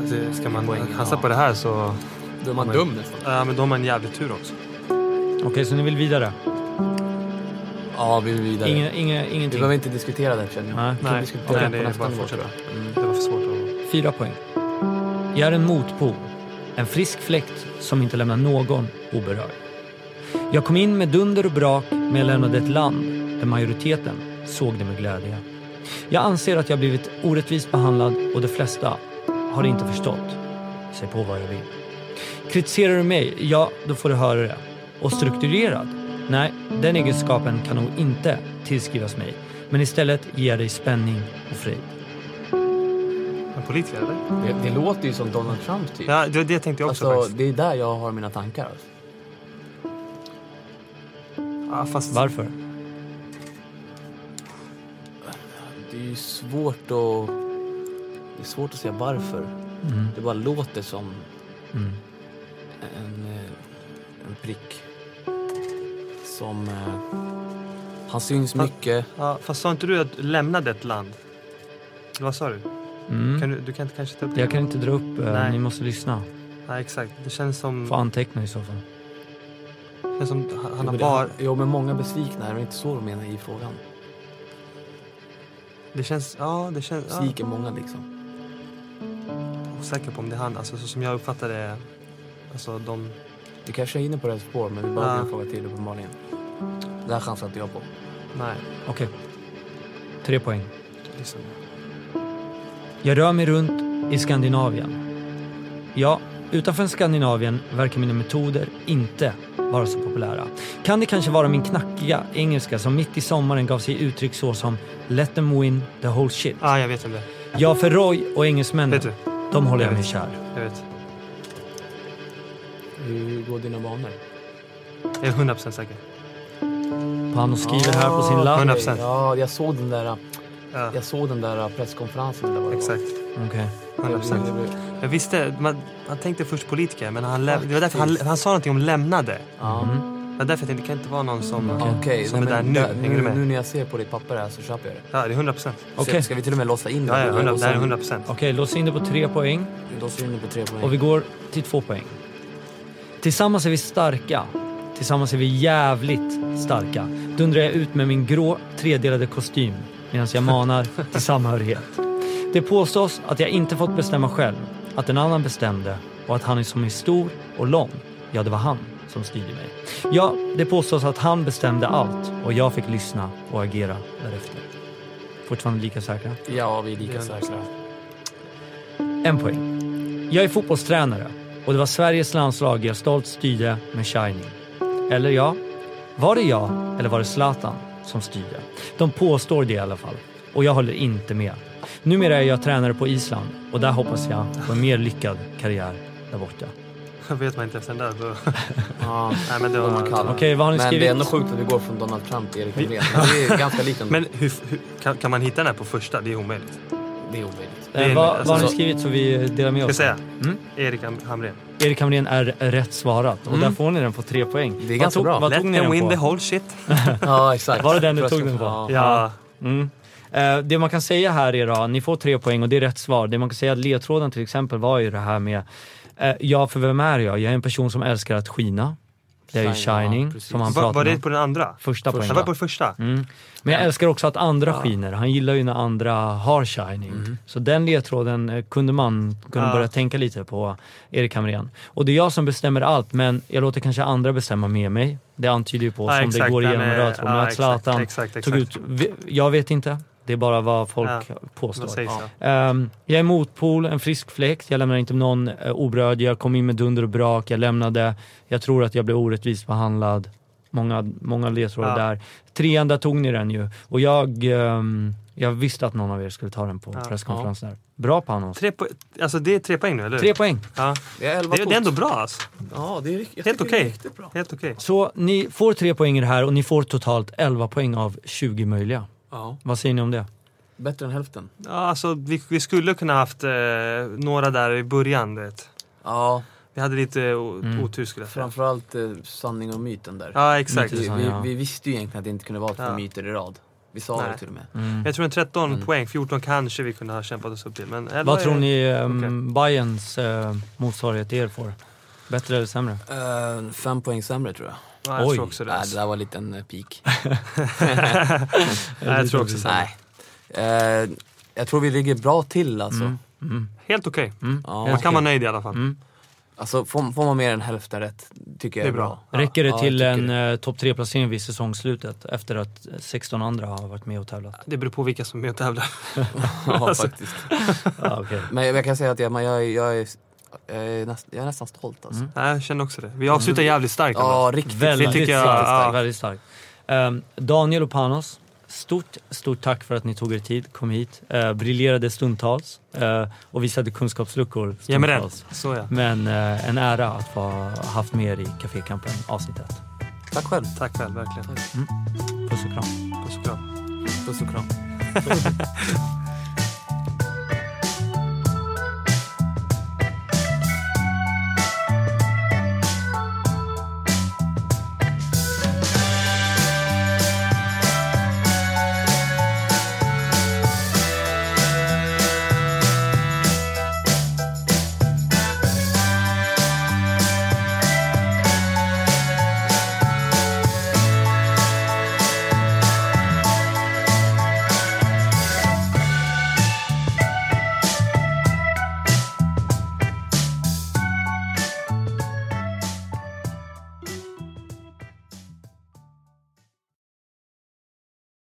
[SPEAKER 3] alltså.
[SPEAKER 2] alltså ska man
[SPEAKER 3] Poäng, ja.
[SPEAKER 2] chansa på det här så...
[SPEAKER 3] Då är man dum nästan.
[SPEAKER 2] Ja, men då har man jävligt tur också.
[SPEAKER 1] Okej, så ni vill vidare?
[SPEAKER 3] Ja, vi vill vidare.
[SPEAKER 1] Inge, inge,
[SPEAKER 3] Vi
[SPEAKER 1] ingenting?
[SPEAKER 3] behöver inte diskutera det känner jag.
[SPEAKER 1] Nej.
[SPEAKER 3] Vi kan diskutera
[SPEAKER 2] okej, det
[SPEAKER 3] det på
[SPEAKER 2] är
[SPEAKER 3] nästa
[SPEAKER 2] bara
[SPEAKER 3] nivå
[SPEAKER 2] fortsätta.
[SPEAKER 3] tror jag. Mm.
[SPEAKER 2] Det var för svårt att...
[SPEAKER 1] Fyra poäng. Jag är en motpol. En frisk fläkt som inte lämnar någon oberörd. Jag kom in med dunder och brak, men jag lämnade ett land där majoriteten såg det med glädje. Jag anser att jag blivit orättvist behandlad och de flesta har inte förstått. Säg på vad jag vill. Kritiserar du mig, ja, då får du höra det. Och strukturerad? Nej, den egenskapen kan nog inte tillskrivas mig. Men istället ger jag dig spänning och frid.
[SPEAKER 2] En politiker eller?
[SPEAKER 3] Det, det låter ju som Donald Trump typ.
[SPEAKER 2] Mm. Ja, det, det tänkte jag också
[SPEAKER 3] alltså,
[SPEAKER 2] faktiskt.
[SPEAKER 3] det är där jag har mina tankar. Alltså.
[SPEAKER 2] Ja, fast...
[SPEAKER 1] Varför?
[SPEAKER 3] Det är ju svårt att... Det är svårt att säga varför. Det bara låter som
[SPEAKER 1] Mm.
[SPEAKER 3] en, eh, en prick. Som... eh, Han syns
[SPEAKER 2] Fast-
[SPEAKER 3] mycket.
[SPEAKER 2] Ja, fast sa inte du att du lämnade ett land? Eller Vad sa du?
[SPEAKER 1] Mm.
[SPEAKER 2] Kan du, du kan inte kanske ta upp det?
[SPEAKER 1] Jag kan inte dra upp, eh,
[SPEAKER 2] Nej. Mm.
[SPEAKER 1] ni måste lyssna.
[SPEAKER 2] Nej, exakt. Det känns som,
[SPEAKER 1] Får anteckna i så fall.
[SPEAKER 2] känns som han- han
[SPEAKER 3] Jo,
[SPEAKER 2] har
[SPEAKER 3] men
[SPEAKER 2] bara...
[SPEAKER 3] det- Jo, men många är besvikna. Det var inte så de menar i frågan.
[SPEAKER 2] Det känns... Ja, det känns... Ja,
[SPEAKER 3] Besviker många liksom.
[SPEAKER 2] osäker på om det är han. Alltså, så som jag uppfattar det... Alltså de...
[SPEAKER 3] Vi kanske är inne på rätt spår, men vi behöver
[SPEAKER 2] Ja.
[SPEAKER 3] en fråga till uppenbarligen. Det här chansar inte jag på.
[SPEAKER 2] Nej.
[SPEAKER 1] Okej. Tre poäng.
[SPEAKER 2] Liksom.
[SPEAKER 1] Jag rör mig runt i Skandinavien. Ja, utanför Skandinavien verkar mina metoder inte vara så populära. Kan det kanske vara min knackiga engelska som mitt i sommaren gav sig uttryck så som “Let them win the whole shit”.
[SPEAKER 2] Ah, jag vet inte.
[SPEAKER 1] Ja, för Roy och engelsmännen,
[SPEAKER 2] Vet du?
[SPEAKER 1] de håller jag
[SPEAKER 2] Jag
[SPEAKER 1] mig
[SPEAKER 2] vet.
[SPEAKER 1] kär.
[SPEAKER 2] Jag vet.
[SPEAKER 3] Hur går dina banor?
[SPEAKER 2] Jag är hundra procent säker.
[SPEAKER 1] Han och skriver här på sin
[SPEAKER 3] Ah,
[SPEAKER 1] lapp.
[SPEAKER 2] men-
[SPEAKER 3] okej.
[SPEAKER 2] 100%.
[SPEAKER 3] Ja, jag såg den där,
[SPEAKER 2] Ja,
[SPEAKER 3] jag såg den där presskonferensen. Där var Mm. det
[SPEAKER 2] exakt.
[SPEAKER 1] Okej.
[SPEAKER 2] Hundra procent.
[SPEAKER 3] var.
[SPEAKER 2] Jag visste... Man, man tänkte först politiker, men han läm- det var därför han,
[SPEAKER 3] Faktiskt.
[SPEAKER 2] han sa någonting om lämnade.
[SPEAKER 3] Ja.
[SPEAKER 1] Mm.
[SPEAKER 2] Det var därför jag tänkte, det kan inte vara någon som...
[SPEAKER 3] Okej,
[SPEAKER 2] Som
[SPEAKER 3] nej,
[SPEAKER 2] är där
[SPEAKER 3] men
[SPEAKER 2] nu.
[SPEAKER 3] där-
[SPEAKER 2] Hänger du
[SPEAKER 3] nu,
[SPEAKER 2] med?
[SPEAKER 3] nu när jag ser på ditt papper här så köper jag det.
[SPEAKER 2] Ja, det är hundra procent.
[SPEAKER 3] Så
[SPEAKER 1] Okej.
[SPEAKER 3] Ska vi till och med låsa in
[SPEAKER 2] Ja, ja,
[SPEAKER 3] det?
[SPEAKER 2] hundra, det här är hundra procent.
[SPEAKER 1] Okej, lås in det på tre poäng.
[SPEAKER 3] Låsa in det på tre poäng.
[SPEAKER 1] Och vi går till två poäng. Tillsammans är vi starka. Tillsammans är vi jävligt starka. Dundrar jag ut med min grå tredelade kostym medan jag manar till samhörighet. Det påstås att jag inte fått bestämma själv, att en annan bestämde och att han är som är stor och lång, ja det var han som styrde mig. Ja, det påstås att han bestämde allt och jag fick lyssna och agera därefter. Fortfarande lika säkra?
[SPEAKER 3] Ja, vi är lika
[SPEAKER 2] Ja.
[SPEAKER 3] säkra.
[SPEAKER 1] En poäng. Jag är fotbollstränare och det var Sveriges landslag jag stolt styrde med Shining. Eller ja, var det jag eller var det Zlatan som styrde? De påstår det i alla fall och jag håller inte med. Numera är jag tränare på Island och där hoppas jag på en mer lyckad karriär där borta.
[SPEAKER 2] vet man inte efter den där. Då.
[SPEAKER 3] Ja,
[SPEAKER 2] Nej, men det
[SPEAKER 3] då är
[SPEAKER 2] var...
[SPEAKER 3] man kall.
[SPEAKER 1] Okej, vad har ni
[SPEAKER 3] men
[SPEAKER 1] skrivit?
[SPEAKER 3] det är ändå sjukt att vi går från Donald Trump till Erik Hamrén. Men Det är ganska likt ändå.
[SPEAKER 2] Men hur, hur, kan, kan man hitta den här på första? Det är omöjligt.
[SPEAKER 3] Det är omöjligt.
[SPEAKER 2] det
[SPEAKER 1] eh,
[SPEAKER 2] är-
[SPEAKER 1] vad,
[SPEAKER 2] alltså-
[SPEAKER 1] vad har ni skrivit så vi delar med
[SPEAKER 2] Ska jag
[SPEAKER 1] oss?
[SPEAKER 2] säga?
[SPEAKER 1] Mm?
[SPEAKER 2] Erik Ham- Hamrén.
[SPEAKER 1] Erik Hamrén är rätt svarat och där får ni den på tre poäng.
[SPEAKER 3] Mm. är
[SPEAKER 1] Vad
[SPEAKER 3] ganska
[SPEAKER 1] tog,
[SPEAKER 3] bra.
[SPEAKER 1] Vad
[SPEAKER 2] Let
[SPEAKER 1] tog ni
[SPEAKER 2] them
[SPEAKER 1] den
[SPEAKER 2] win
[SPEAKER 1] på?
[SPEAKER 2] the whole shit.
[SPEAKER 3] Ja, exakt.
[SPEAKER 1] Var det den du
[SPEAKER 3] Tror jag
[SPEAKER 1] tog
[SPEAKER 3] ska-
[SPEAKER 1] den på?
[SPEAKER 3] Ja.
[SPEAKER 2] Ja,
[SPEAKER 1] Mm. Eh, det man kan säga här är då, ni får tre poäng och det är rätt svar. Det man kan säga att ledtråden till exempel var ju det här med Eh, ja, för vem är jag? Jag är en person som älskar att skina. Det är ju
[SPEAKER 3] Shining, ja,
[SPEAKER 1] Shining
[SPEAKER 3] precis.
[SPEAKER 1] som han
[SPEAKER 2] Va,
[SPEAKER 1] pratar
[SPEAKER 2] var det
[SPEAKER 1] om.
[SPEAKER 2] på den andra?
[SPEAKER 1] Första
[SPEAKER 2] Det
[SPEAKER 1] poängen.
[SPEAKER 2] var på den första?
[SPEAKER 1] Mm. Men jag älskar också att andra skiner. Han gillar ju när andra har shining. Så den ledtråden eh, kunde man kunna
[SPEAKER 2] Mm. Ja.
[SPEAKER 1] börja tänka lite på, Erik Hamrén. Och det är jag som bestämmer allt, men jag låter kanske andra bestämma med mig. Det antyder ju på,
[SPEAKER 2] Ja,
[SPEAKER 1] som
[SPEAKER 2] exakt,
[SPEAKER 1] det går
[SPEAKER 2] den
[SPEAKER 1] igenom
[SPEAKER 2] är-
[SPEAKER 1] en röd tråd,
[SPEAKER 2] ja,
[SPEAKER 1] men att
[SPEAKER 2] exakt,
[SPEAKER 1] Zlatan
[SPEAKER 2] exakt,
[SPEAKER 1] tog ut...
[SPEAKER 2] exakt.
[SPEAKER 1] vi- Jag vet inte. Det är bara vad folk
[SPEAKER 2] Ja,
[SPEAKER 1] påstår.
[SPEAKER 2] Vad sägs då?
[SPEAKER 1] Ehm, jag är motpol, en frisk fläkt. Jag lämnar inte någon uh, oberörd. Jag kom in med dunder och brak. Jag lämnade. Jag tror att jag blev orättvist behandlad. Många, många ledtrådar
[SPEAKER 2] Ja.
[SPEAKER 1] där. Trean, där tog ni den ju. Och jag, ehm, jag visste att någon av er skulle ta den på
[SPEAKER 2] Ja.
[SPEAKER 1] presskonferensen. där. Bra Panos.
[SPEAKER 2] Tre po- alltså det är tre poäng nu, eller hur?
[SPEAKER 1] Tre poäng.
[SPEAKER 2] Ja.
[SPEAKER 3] Det är elva
[SPEAKER 2] Det, är-
[SPEAKER 3] kort.
[SPEAKER 2] det är ändå bra alltså.
[SPEAKER 3] Ja, det är, rikt- jag
[SPEAKER 2] Helt
[SPEAKER 3] tycker det är
[SPEAKER 2] okej.
[SPEAKER 3] riktigt bra.
[SPEAKER 2] Helt okej.
[SPEAKER 1] Så ni får tre poäng i det här och ni får totalt 11 poäng av 20 möjliga.
[SPEAKER 3] Ja,
[SPEAKER 1] Vad säger ni om det?
[SPEAKER 3] bättre än hälften.
[SPEAKER 2] Ja, alltså, vi, vi skulle kunna haft eh, några där i början. du Vet.
[SPEAKER 3] Ja,
[SPEAKER 2] Vi hade lite o-
[SPEAKER 1] Mm.
[SPEAKER 2] otur skulle jag säga.
[SPEAKER 3] framförallt eh, sanning och myten där.
[SPEAKER 2] Ja, exakt.
[SPEAKER 1] Mycket.
[SPEAKER 3] vi,
[SPEAKER 1] Ja.
[SPEAKER 3] vi, vi visste ju egentligen att det inte kunde vara två
[SPEAKER 2] Ja.
[SPEAKER 3] myter i rad. Vi sa
[SPEAKER 2] Nej.
[SPEAKER 3] det till och med.
[SPEAKER 1] Mm.
[SPEAKER 2] Jag tror en 13
[SPEAKER 3] Mm.
[SPEAKER 2] poäng, 14 kanske vi kunde ha kämpat oss upp till. Men elva
[SPEAKER 1] Vad
[SPEAKER 2] är-
[SPEAKER 1] tror ni um, Bayerns eh, motsvarighet till er får? Bättre eller sämre?
[SPEAKER 3] Eh, fem poäng sämre tror jag.
[SPEAKER 2] Ja, jag
[SPEAKER 1] Oj.
[SPEAKER 2] tror också det.
[SPEAKER 3] Nej, det
[SPEAKER 2] Alltså.
[SPEAKER 3] där var en liten eh, peak.
[SPEAKER 2] Nej, jag tror också så.
[SPEAKER 3] Nej. Eh, jag tror vi ligger bra till alltså.
[SPEAKER 1] Mm. Mm.
[SPEAKER 2] Helt okej.
[SPEAKER 1] Mm.
[SPEAKER 3] Ja,
[SPEAKER 2] Man
[SPEAKER 3] okej.
[SPEAKER 2] kan vara nöjd i alla fall.
[SPEAKER 1] Mm.
[SPEAKER 3] alltså får, får man mer än hälften rätt tycker jag
[SPEAKER 2] Det är bra.
[SPEAKER 1] Räcker det
[SPEAKER 3] ja,
[SPEAKER 1] till
[SPEAKER 3] jag
[SPEAKER 1] en
[SPEAKER 3] tycker
[SPEAKER 1] eh, topp 3-placering vid säsongslutet efter att 16 andra har varit med och tävlat?
[SPEAKER 2] Det beror på vilka som är med och tävlar.
[SPEAKER 3] ja,
[SPEAKER 2] Alltså.
[SPEAKER 3] faktiskt.
[SPEAKER 1] Ja, okej.
[SPEAKER 3] Men jag kan säga att jag, men jag, är- jag, är, jag, är näst, jag är nästan stolt alltså.
[SPEAKER 1] Mm.
[SPEAKER 2] Nej, jag känner också det. Vi avslutar jävligt starkt. ändå.
[SPEAKER 3] Ja, riktigt.
[SPEAKER 1] Väldigt,
[SPEAKER 2] tycker jag-
[SPEAKER 1] starkt,
[SPEAKER 2] ja.
[SPEAKER 1] väldigt starkt. Ehm, Daniel och Panos, stort, stort tack för att ni tog er tid, kom hit, eh, briljerade stundtals eh, och visade kunskapsluckor
[SPEAKER 2] Ge mig den.
[SPEAKER 1] stundtals.
[SPEAKER 2] Så ja.
[SPEAKER 1] Men eh, en ära att ha haft med er i Cafékampen avsnitt 1.
[SPEAKER 3] Tack själv.
[SPEAKER 2] Tack väl, verkligen.
[SPEAKER 1] Puss och kram.
[SPEAKER 2] Puss och kram.
[SPEAKER 3] Puss och kram.